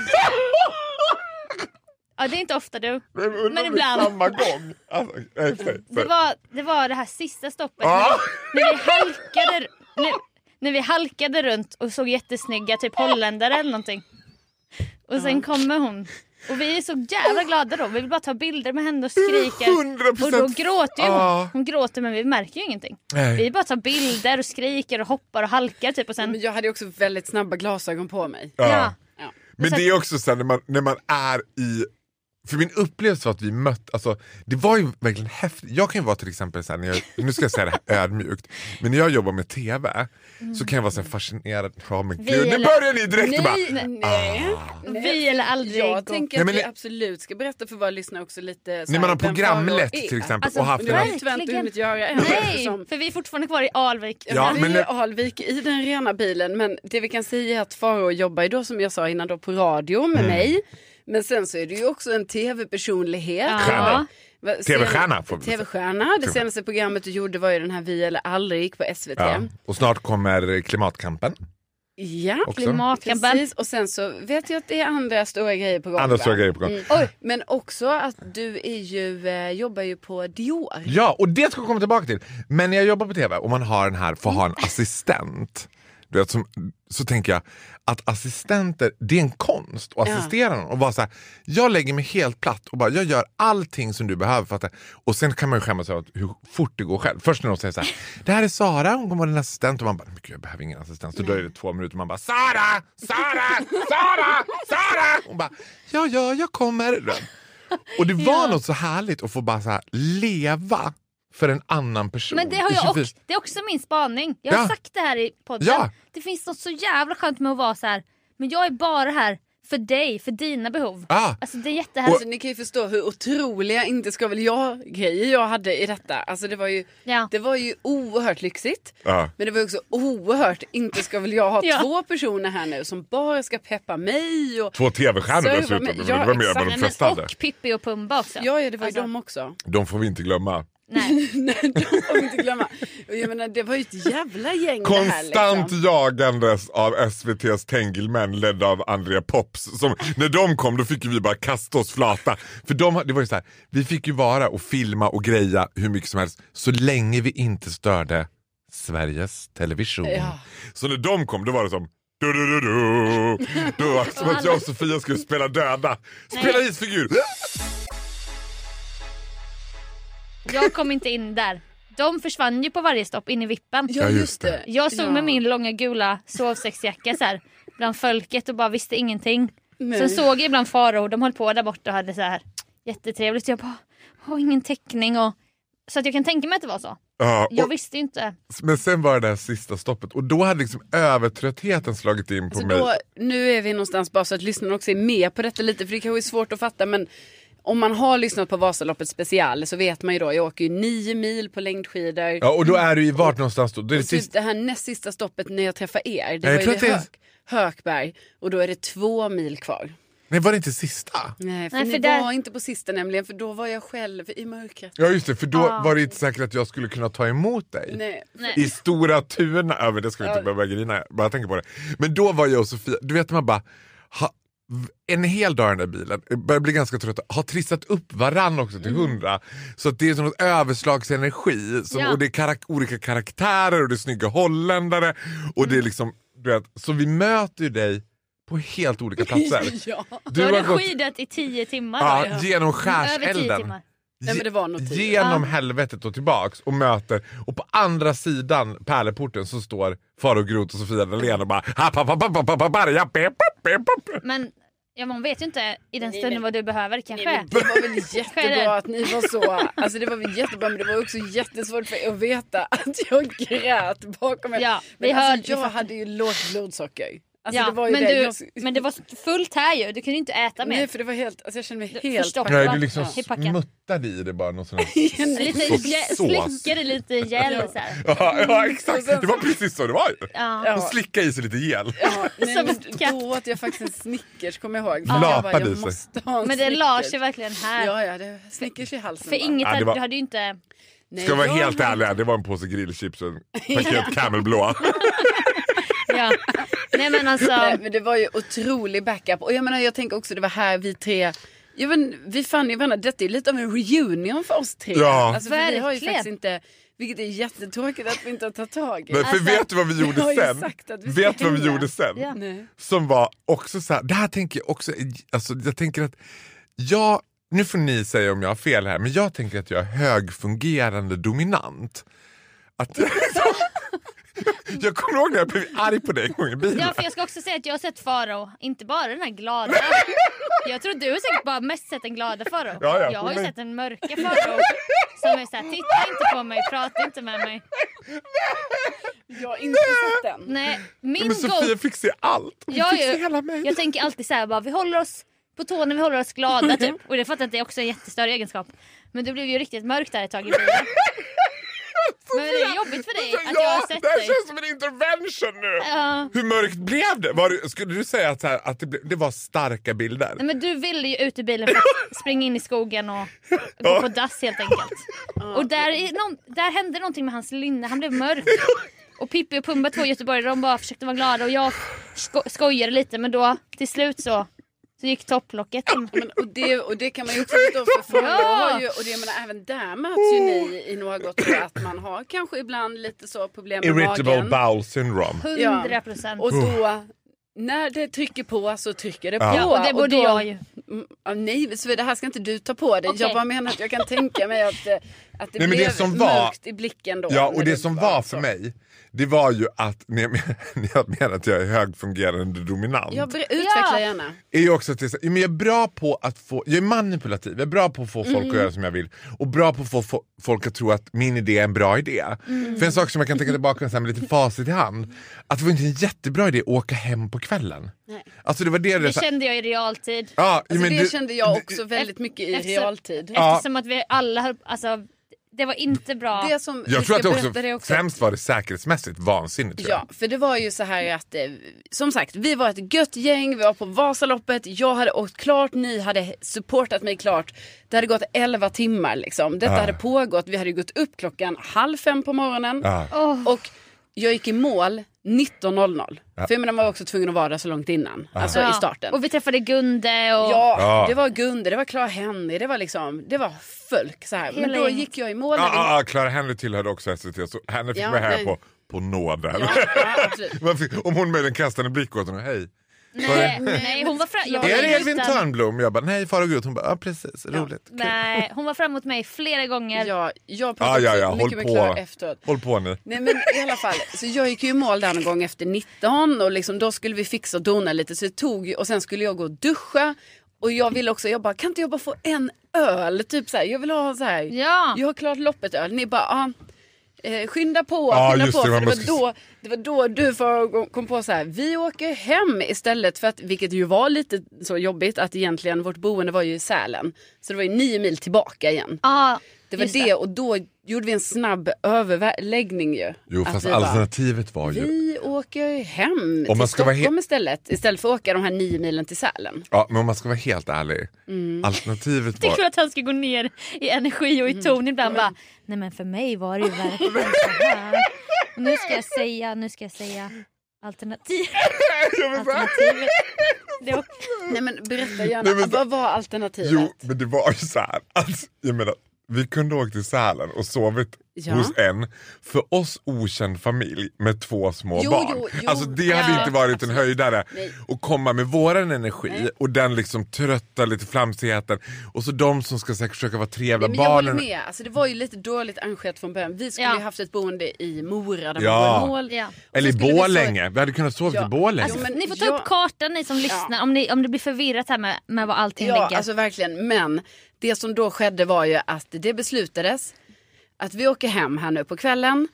[SPEAKER 2] Ja, det är inte ofta du.
[SPEAKER 3] undrar om det är
[SPEAKER 2] ibland.
[SPEAKER 3] Samma gång. Alltså, nej, för, Ah!
[SPEAKER 2] Det var det, var det här sista stoppet.
[SPEAKER 3] Ja.
[SPEAKER 2] När, när, vi halkade, när, när vi halkade runt och såg jättesnygga, typ holländare eller någonting. Och sen kommer hon. Och vi är så jävla glada då. Vi vill bara ta bilder med henne och skrika.
[SPEAKER 3] 100%
[SPEAKER 2] Och då gråter ju hon.
[SPEAKER 3] Ja.
[SPEAKER 2] Hon gråter men vi märker ju ingenting.
[SPEAKER 3] Nej.
[SPEAKER 2] Vi bara tar bilder och skriker och hoppar och halkar typ och
[SPEAKER 1] Men
[SPEAKER 2] sen...
[SPEAKER 1] jag hade ju också väldigt snabba glasögon på mig.
[SPEAKER 2] Ja.
[SPEAKER 1] Ja.
[SPEAKER 3] Men det är också sen när man, när man är i... För min upplevelse var att vi mötte, alltså, det var ju verkligen häftigt. Jag kan ju vara till exempel, så här, när jag, nu ska jag säga det här ödmjukt, men när jag jobbar med TV så kan jag vara så här fascinerad. Ja men gud, nu
[SPEAKER 2] eller-
[SPEAKER 3] börjar ni direkt och bara, Ah.
[SPEAKER 1] Nej, nej.
[SPEAKER 2] Vi eller aldrig.
[SPEAKER 1] Jag
[SPEAKER 2] gå.
[SPEAKER 1] tänker
[SPEAKER 3] Nej,
[SPEAKER 1] att
[SPEAKER 3] men
[SPEAKER 1] vi
[SPEAKER 3] det-
[SPEAKER 1] absolut ska berätta för våra lyssnare också lite. så
[SPEAKER 3] när man har
[SPEAKER 1] här, vem
[SPEAKER 3] programlett
[SPEAKER 1] Farao är.
[SPEAKER 3] till exempel
[SPEAKER 2] Alltså,
[SPEAKER 3] och haft
[SPEAKER 1] Men
[SPEAKER 3] en
[SPEAKER 1] Det har jag
[SPEAKER 2] verkligen.
[SPEAKER 3] annan-
[SPEAKER 1] ju tyvärr inte hunnit göra än.
[SPEAKER 2] Nej,
[SPEAKER 1] eftersom-
[SPEAKER 2] för vi är fortfarande kvar i Alvik.
[SPEAKER 3] Ja,
[SPEAKER 1] vi
[SPEAKER 3] men
[SPEAKER 1] är i
[SPEAKER 3] det-
[SPEAKER 1] Alvik i den rena bilen men det vi kan säga är att Faro jobbar ju då som jag sa innan då på radio
[SPEAKER 3] Mm.
[SPEAKER 1] med mig. Men sen så är du ju också en tv-personlighet.
[SPEAKER 2] Ja.
[SPEAKER 3] Stjärna.
[SPEAKER 1] Va- sen-
[SPEAKER 3] TV-stjärna, får vi väl säga.
[SPEAKER 1] TV-stjärna. Det senaste programmet du gjorde var ju den här Vi eller aldrig på SVT.
[SPEAKER 3] Ja. Och snart kommer klimatkampen.
[SPEAKER 1] Ja,
[SPEAKER 3] Också.
[SPEAKER 2] Klimatkampen.
[SPEAKER 1] precis. Och sen så vet jag att det är andra stora grejer på gång.
[SPEAKER 3] Andra
[SPEAKER 1] va?
[SPEAKER 3] stora grejer på gång.
[SPEAKER 1] Oj, men också att du är ju, eh, jobbar ju på Dior.
[SPEAKER 3] Ja, och det ska jag komma tillbaka till. Men när jag jobbar på tv och man har den här, får ha en assistent. Du vet, som, så tänker jag att assistenter, det är en konst att
[SPEAKER 1] Ja.
[SPEAKER 3] assistera någon. Och bara så här, jag lägger mig helt platt och bara, jag gör allting som du behöver. För att, och sen kan man ju skämmas över att hur fort det går själv. Först när de säger så här, det här är Sara, hon kommer vara din assistent. Och man bara, men gud jag behöver ingen assistent. Så dröjer det två minuter och man bara, Sara, Sara, Sara, Sara! Hon bara, ja, ja, jag kommer. Du vet. Och det var något så härligt att få bara så här, leva för en annan person.
[SPEAKER 2] Men det, har
[SPEAKER 3] i
[SPEAKER 2] jag
[SPEAKER 3] 24
[SPEAKER 2] också, det är också min spaning. Jag har
[SPEAKER 3] Ja.
[SPEAKER 2] sagt det här i podden.
[SPEAKER 3] Ja.
[SPEAKER 2] Det finns något så jävla skönt med att vara så här. men jag är bara här för dig, för dina behov.
[SPEAKER 3] Ja.
[SPEAKER 2] Alltså det är jättehärligt.
[SPEAKER 1] Alltså, ni kan ju förstå hur otroliga inte ska väl jag-grejer jag hade i detta. Alltså, det, var ju,
[SPEAKER 2] Ja.
[SPEAKER 1] det var ju oerhört lyxigt.
[SPEAKER 3] Ja.
[SPEAKER 1] Men det var ju också oerhört, inte ska väl jag ha
[SPEAKER 2] Ja.
[SPEAKER 1] två personer här nu som bara ska peppa mig. Och,
[SPEAKER 3] Två
[SPEAKER 1] Så
[SPEAKER 3] tv-stjärnor
[SPEAKER 1] jag
[SPEAKER 3] dessutom.
[SPEAKER 1] var med-
[SPEAKER 3] men
[SPEAKER 1] ja,
[SPEAKER 3] det var mer
[SPEAKER 1] exakt.
[SPEAKER 3] vad
[SPEAKER 2] Nej, men,
[SPEAKER 3] de flesta hade.
[SPEAKER 2] och Pippi och Pumba också.
[SPEAKER 1] ja, ja, det var ju
[SPEAKER 2] Alltså,
[SPEAKER 1] dem också.
[SPEAKER 3] De får vi inte glömma.
[SPEAKER 2] Nej.
[SPEAKER 1] Nej, de får vi inte glömma. Och Jag menar, det var ju ett jävla gäng det här.
[SPEAKER 3] Konstant
[SPEAKER 1] Liksom.
[SPEAKER 3] jagandes av SVTs Tengilmän ledda av Andrea Pops. Som, när de kom då fick ju vi bara kasta oss flata. För de, det var ju så här, vi fick ju vara och filma och greja hur mycket som helst så länge vi inte störde Sveriges Television.
[SPEAKER 1] Ja.
[SPEAKER 3] Så när de kom då var det som du, du, du, du, du, som att jag och Sofia skulle spela döda. Spela isfigur!
[SPEAKER 2] Jag kom inte in där. De försvann ju på varje stopp in i vippen.
[SPEAKER 1] Ja, just det.
[SPEAKER 2] Jag stod
[SPEAKER 1] ja.
[SPEAKER 2] med min långa gula sovsäcksjacka så här, bland folket och bara visste ingenting.
[SPEAKER 1] Nej.
[SPEAKER 2] Sen såg jag ibland faror, de höll på där borta och hade så här jättetrevligt. Jag bara, har ingen täckning och så att jag kan tänka mig att det var så.
[SPEAKER 3] Ja,
[SPEAKER 2] Jag
[SPEAKER 3] och-
[SPEAKER 2] visste ju inte.
[SPEAKER 3] Men sen var det det här sista stoppet och då hade liksom övertröttheten slagit in på
[SPEAKER 1] Så
[SPEAKER 3] mig.
[SPEAKER 1] Alltså då, nu är vi någonstans bara så att lyssnarna också är med på detta lite, för det kanske är svårt att fatta. Men om man har lyssnat på Vasaloppet special så vet man ju då, jag åker ju nio mil på längdskidor.
[SPEAKER 3] Ja, och då är du i vart någonstans då? Det är det
[SPEAKER 1] Mm. Och typ
[SPEAKER 3] sista.
[SPEAKER 1] det här näst sista stoppet när jag träffar er, det
[SPEAKER 3] Jag
[SPEAKER 1] var
[SPEAKER 3] tror
[SPEAKER 1] ju
[SPEAKER 3] att det
[SPEAKER 1] det
[SPEAKER 3] är-
[SPEAKER 1] Hök, Hökberg. Och då är det två mil kvar.
[SPEAKER 3] Nej, var det inte sista?
[SPEAKER 1] Nej, för,
[SPEAKER 2] Nej, för
[SPEAKER 1] ni
[SPEAKER 2] där-
[SPEAKER 1] var inte på sista nämligen, för då var jag själv i mörkret.
[SPEAKER 3] Ja, just det, för då var det inte säkert att jag skulle kunna ta emot dig.
[SPEAKER 1] Nej.
[SPEAKER 3] I Stora Tuna. Ja, men det ska vi inte behöva grina, jag bara tänker på det. Men då var jag och Sofia, du vet man bara, ha, en hel dag i den där bilen, börjar bli ganska trött, har trissat upp varann också
[SPEAKER 1] Mm.
[SPEAKER 3] till hundra. Så att det är som något överslagsenergi. Som,
[SPEAKER 2] Ja.
[SPEAKER 3] Och det är karak olika karaktärer och det är snygga holländare. Och
[SPEAKER 1] Mm.
[SPEAKER 3] det är liksom, du vet, så vi möter ju dig på helt olika platser.
[SPEAKER 1] Ja.
[SPEAKER 3] Du
[SPEAKER 2] Du har
[SPEAKER 3] har gått-
[SPEAKER 2] skidat i tio timmar.
[SPEAKER 3] Ja,
[SPEAKER 2] då, ja.
[SPEAKER 3] genom
[SPEAKER 2] Mm, Över tio
[SPEAKER 3] skärselden.
[SPEAKER 2] timmar.
[SPEAKER 1] Nej, men det var nog tio.
[SPEAKER 3] Genom helvetet och tillbaks och möter och på andra sidan pärleporten så står Faro Groth och Sofia Dalén och bara happ, happ, happ, happ, happ, happ, happ, ja, pep, pep, pep.
[SPEAKER 2] Men ja, man vet ju inte i den stunden
[SPEAKER 1] men-
[SPEAKER 2] vad du behöver kanske.
[SPEAKER 1] Nej, men det var väl jättebra
[SPEAKER 2] Skärren.
[SPEAKER 1] att ni var så. Alltså det var väl jättebra men det var också jättesvårt för er att veta att jag grät bakom er.
[SPEAKER 2] Ja, vi
[SPEAKER 1] men
[SPEAKER 2] hörde- vi
[SPEAKER 1] alltså, jag
[SPEAKER 2] fattar.
[SPEAKER 1] hade ju lågt blodsocker. Alltså
[SPEAKER 2] ja,
[SPEAKER 1] det var ju
[SPEAKER 2] men,
[SPEAKER 1] det.
[SPEAKER 2] Du,
[SPEAKER 1] jag...
[SPEAKER 2] men det var fullt här ju, du kunde ju inte äta mer.
[SPEAKER 1] Nej för det var helt, alltså jag kände mig helt...
[SPEAKER 2] Förstoppad.
[SPEAKER 3] Nej, du liksom
[SPEAKER 2] Ja. Hippacken.
[SPEAKER 3] smuttade i det bara någon sån här...
[SPEAKER 2] Lite
[SPEAKER 3] Så-
[SPEAKER 2] jä-
[SPEAKER 3] sås.
[SPEAKER 2] slickade lite i gel så här.
[SPEAKER 3] ja, ja, exakt. Det var precis så det var ju.
[SPEAKER 2] Ja.
[SPEAKER 3] Hon slickade i sig lite gel.
[SPEAKER 1] Ja, nej,
[SPEAKER 2] Som
[SPEAKER 1] men
[SPEAKER 2] en katt.
[SPEAKER 1] då åt jag faktiskt en Snickers kommer jag ihåg.
[SPEAKER 3] Lapade
[SPEAKER 1] jag bara,
[SPEAKER 3] i
[SPEAKER 1] jag
[SPEAKER 3] sig.
[SPEAKER 1] måste ha en
[SPEAKER 2] Men det la sig
[SPEAKER 1] Snickers.
[SPEAKER 2] verkligen här.
[SPEAKER 1] Ja, ja, det Snickers i halsen.
[SPEAKER 2] För
[SPEAKER 1] bara.
[SPEAKER 2] inget,
[SPEAKER 3] Ja, det
[SPEAKER 2] hade-
[SPEAKER 3] var-
[SPEAKER 2] du hade ju inte...
[SPEAKER 1] Nej,
[SPEAKER 3] Ska jag vara
[SPEAKER 1] jag
[SPEAKER 3] helt
[SPEAKER 1] har-
[SPEAKER 3] ärlig, det var en påse grillchips och en paket Camelblå.
[SPEAKER 2] Ja. Nej men alltså,
[SPEAKER 1] Nej, men det var ju otrolig backup. Och jag menar, jag tänker också det var här vi tre... Jag men, vi fann ju varandra. Detta är ju lite av en reunion för oss tre.
[SPEAKER 3] Ja.
[SPEAKER 1] Alltså, för vi har ju
[SPEAKER 2] Verkligen.
[SPEAKER 1] faktiskt inte... Vilket är jättetråkigt att vi inte har tagit tag i.
[SPEAKER 3] Nej, för vet du vad vi
[SPEAKER 1] jag har
[SPEAKER 3] gjorde
[SPEAKER 1] ju
[SPEAKER 3] sen?
[SPEAKER 1] sagt Alltså, att vi ska
[SPEAKER 3] Vet du vad vi
[SPEAKER 1] hänga.
[SPEAKER 3] gjorde sen?
[SPEAKER 2] Ja.
[SPEAKER 1] Nej.
[SPEAKER 3] som var också så här, det här tänker jag också, alltså jag tänker att jag, nu får ni säga om jag har fel här, men jag tänker att jag är högfungerande dominant. Att jag, liksom, jag kommer ihåg när jag blev arg på dig en gång i bilen.
[SPEAKER 2] ja, för jag ska också säga att jag har sett Faro, inte bara den här glada. Jag tror du har säkert bara mest sett den glada Faro.
[SPEAKER 3] Ja, ja,
[SPEAKER 2] jag har ju
[SPEAKER 3] men-
[SPEAKER 2] sett den mörka Faro. Som är såhär, titta inte på mig, prata inte med mig.
[SPEAKER 1] Jag har inte sett den.
[SPEAKER 2] Nej, min
[SPEAKER 3] Men Sofia
[SPEAKER 2] go...
[SPEAKER 3] fick se allt. Hon
[SPEAKER 2] Jag,
[SPEAKER 3] fick
[SPEAKER 2] är
[SPEAKER 3] se
[SPEAKER 2] ju-
[SPEAKER 3] hela mig.
[SPEAKER 2] jag tänker alltid såhär bara, vi håller oss på tårna, vi håller oss glada typ. Och det fattar jag att det är också en jättestörre egenskap. Men det blev ju riktigt mörkt där ett tag i bilen. Men det är jobbigt för dig
[SPEAKER 3] Alltså,
[SPEAKER 2] att
[SPEAKER 3] ja,
[SPEAKER 2] jag har sett
[SPEAKER 3] det här
[SPEAKER 2] dig.
[SPEAKER 3] känns som en intervention nu.
[SPEAKER 2] Ja.
[SPEAKER 3] Hur mörkt blev det? Var det skulle du säga att, så här, att det, blev, det var starka bilder?
[SPEAKER 2] Nej, men du ville ju ut ur bilen för att springa in i skogen och gå på dass helt enkelt. Och där, i någon, där hände någonting med hans lynne, han blev mörk. Och Pippi och Pumba, två göteborgare, de bara försökte vara glada och jag sko skojade lite men då till slut så, så gick topplocket in.
[SPEAKER 1] Men, och, det, och det kan man ju också förstå för folk
[SPEAKER 2] Ja.
[SPEAKER 1] har ju, och det, jag menar, även där möts ju ni i något och att man har kanske ibland lite så problem med
[SPEAKER 3] Irritable
[SPEAKER 1] magen.
[SPEAKER 3] bowel syndrome.
[SPEAKER 2] 100 procent.
[SPEAKER 1] Och då, när det trycker på så trycker det på.
[SPEAKER 2] Ja, och det borde
[SPEAKER 1] då,
[SPEAKER 2] jag ju.
[SPEAKER 1] Mm, ah, nej, så det här ska inte du ta på dig.
[SPEAKER 2] Okej.
[SPEAKER 1] Jag bara menar att jag kan tänka mig att, eh, att det
[SPEAKER 3] Nej, men det
[SPEAKER 1] blev
[SPEAKER 3] som var-
[SPEAKER 1] mörkt i blicken då.
[SPEAKER 3] Ja,
[SPEAKER 1] när
[SPEAKER 3] och det som var för
[SPEAKER 1] så.
[SPEAKER 3] mig, det var ju att när jag men- när jag menar att jag är högfungerande dominant,
[SPEAKER 1] Jag ber- utveckla
[SPEAKER 2] Ja.
[SPEAKER 1] gärna.
[SPEAKER 3] är ju också att jag, men jag är bra på att få, jag är manipulativ, jag är bra på att få folk
[SPEAKER 1] Mm.
[SPEAKER 3] att göra som jag vill och bra på att få fo- folk att tro att min idé är en bra idé.
[SPEAKER 1] Mm.
[SPEAKER 3] För en sak som jag kan tänka tillbaka på med lite facit i hand, att det var inte en jättebra idé att åka hem på kvällen. Alltså det var det,
[SPEAKER 2] Det
[SPEAKER 3] sa-
[SPEAKER 2] kände jag i realtid.
[SPEAKER 3] ja,
[SPEAKER 1] Alltså,
[SPEAKER 3] men
[SPEAKER 1] det
[SPEAKER 3] du-
[SPEAKER 1] kände jag
[SPEAKER 3] du-
[SPEAKER 1] också väldigt mycket i
[SPEAKER 2] Eftersom-
[SPEAKER 1] realtid.
[SPEAKER 2] Eftersom att vi alla höll, alltså det var inte bra.
[SPEAKER 1] Det som
[SPEAKER 3] Jag
[SPEAKER 1] vi
[SPEAKER 3] tror att det
[SPEAKER 1] ska
[SPEAKER 3] också,
[SPEAKER 1] berätta det också.
[SPEAKER 3] främst var det säkerhetsmässigt vansinnigt. tror jag.
[SPEAKER 1] Ja, för det var ju så här att eh, som sagt, vi var ett gött gäng, vi var på Vasaloppet, jag hade åkt klart, ni hade supportat mig klart. Det hade gått 11 timmar liksom. Detta hade pågått, vi hade ju gått upp klockan halv fem på morgonen och jag gick i mål 19.00. För jag menar, man var också tvungen att vara där så långt innan, alltså
[SPEAKER 2] Ja.
[SPEAKER 1] i starten.
[SPEAKER 2] Och vi träffade Gunde och...
[SPEAKER 1] Ja,
[SPEAKER 3] Ja.
[SPEAKER 1] det var Gunde, det var Clara Henry, det var liksom, det var folk så här. Men
[SPEAKER 2] Hela
[SPEAKER 1] då
[SPEAKER 2] gänget.
[SPEAKER 1] gick jag i mål. när
[SPEAKER 3] Ja,
[SPEAKER 1] vi-
[SPEAKER 3] ja, ja, Clara Henry tillhörde också SVT så henne fick
[SPEAKER 1] Ja,
[SPEAKER 3] vara här
[SPEAKER 1] nej.
[SPEAKER 3] på, på nåden.
[SPEAKER 1] Ja, ja, absolut.
[SPEAKER 3] Man fick- Om hon möjligen kastade en blick åt honom, hej. Var
[SPEAKER 2] Nej,
[SPEAKER 3] det,
[SPEAKER 2] nej, hon var fram... jag var
[SPEAKER 3] är det
[SPEAKER 2] utan-
[SPEAKER 3] Edvin Törnblom? Jag bara, nej far och gud. Hon bara, ja precis, roligt.
[SPEAKER 2] Nej, hon var fram mot mig flera gånger.
[SPEAKER 1] Ja, jag
[SPEAKER 3] Ja,
[SPEAKER 1] pratade
[SPEAKER 3] ja, ja,
[SPEAKER 1] också
[SPEAKER 3] håll
[SPEAKER 1] mycket med Clara
[SPEAKER 3] på.
[SPEAKER 1] efteråt.
[SPEAKER 3] Håll på nu.
[SPEAKER 1] Nej men i alla fall, så jag gick ju i mål där någon gång efter 19 och liksom, då skulle vi fixa och dona lite så det tog ju- och sen skulle jag gå och duscha och jag ville också, jag bara kan inte jag bara få en öl? Typ så här, jag vill ha så här,
[SPEAKER 2] Ja.
[SPEAKER 1] jag har klart loppet öl. Ni bara, ah, eh, skynda på,
[SPEAKER 3] Ja,
[SPEAKER 1] skynda
[SPEAKER 3] just
[SPEAKER 1] på.
[SPEAKER 3] det,
[SPEAKER 1] för
[SPEAKER 3] man
[SPEAKER 1] det, var
[SPEAKER 3] måste-
[SPEAKER 1] då, det var då du för, kom på så här, vi åker hem istället för att, vilket ju var lite så jobbigt att egentligen vårt boende var ju i Sälen. Så det var ju nio mil tillbaka igen.
[SPEAKER 2] Ja,
[SPEAKER 1] Det var
[SPEAKER 2] just
[SPEAKER 1] det. och då gjorde vi en snabb överläggning ju.
[SPEAKER 3] Jo
[SPEAKER 1] Att
[SPEAKER 3] fast
[SPEAKER 1] vi bara,
[SPEAKER 3] alternativet var ju...
[SPEAKER 1] Vi åker hem
[SPEAKER 3] Om man
[SPEAKER 1] till
[SPEAKER 3] ska vara he-
[SPEAKER 1] Stockholm istället. Istället för att åka de här nio milen till Sälen.
[SPEAKER 3] Ja, men om man ska vara helt ärlig.
[SPEAKER 1] Mm.
[SPEAKER 3] Alternativet
[SPEAKER 2] Det är
[SPEAKER 3] var...
[SPEAKER 2] klart att han ska gå ner i energi och i ton ibland bara Nej men för mig var det ju verkligen så här. Och Nu ska jag säga, nu ska jag säga alternativ. Alternativet. Det var,
[SPEAKER 1] Nej men berätta gärna,
[SPEAKER 3] Nej, men-
[SPEAKER 1] vad var alternativet?
[SPEAKER 3] Jo, men det var ju så här. Alltså, jag menar, vi kunde åkt till Sälen och sovit
[SPEAKER 1] Ja.
[SPEAKER 3] hos en för oss okänd familj med två små
[SPEAKER 1] Jo,
[SPEAKER 3] barn.
[SPEAKER 1] jo, jo.
[SPEAKER 3] alltså det
[SPEAKER 1] Ja,
[SPEAKER 3] hade inte varit en
[SPEAKER 1] absolut.
[SPEAKER 3] höjdare.
[SPEAKER 1] Nej.
[SPEAKER 3] Och komma med våran energi och den liksom trötta lite flamsigheten och så de som ska säkert försöka vara trevliga.
[SPEAKER 1] Nej, men jag håller
[SPEAKER 3] barnen.
[SPEAKER 1] med, alltså, det var ju lite dåligt arrangerat från början. Vi skulle
[SPEAKER 2] Ja.
[SPEAKER 1] ju haft ett boende i Mora där
[SPEAKER 3] Ja.
[SPEAKER 1] man går i mål.
[SPEAKER 2] Ja.
[SPEAKER 1] Och
[SPEAKER 3] Eller i
[SPEAKER 1] så skulle vi sova-
[SPEAKER 3] Borlänge. Vi hade kunnat sova
[SPEAKER 1] Ja,
[SPEAKER 3] i Borlänge.
[SPEAKER 1] alltså, men-
[SPEAKER 2] ni får ta
[SPEAKER 1] jag-
[SPEAKER 2] upp kartan ni som lyssnar om, ni, om det blir förvirrat här med, med var allting
[SPEAKER 1] Ja,
[SPEAKER 2] ligger.
[SPEAKER 1] alltså verkligen. Men det som då skedde var ju att det beslutades att vi åker hem här nu på kvällen.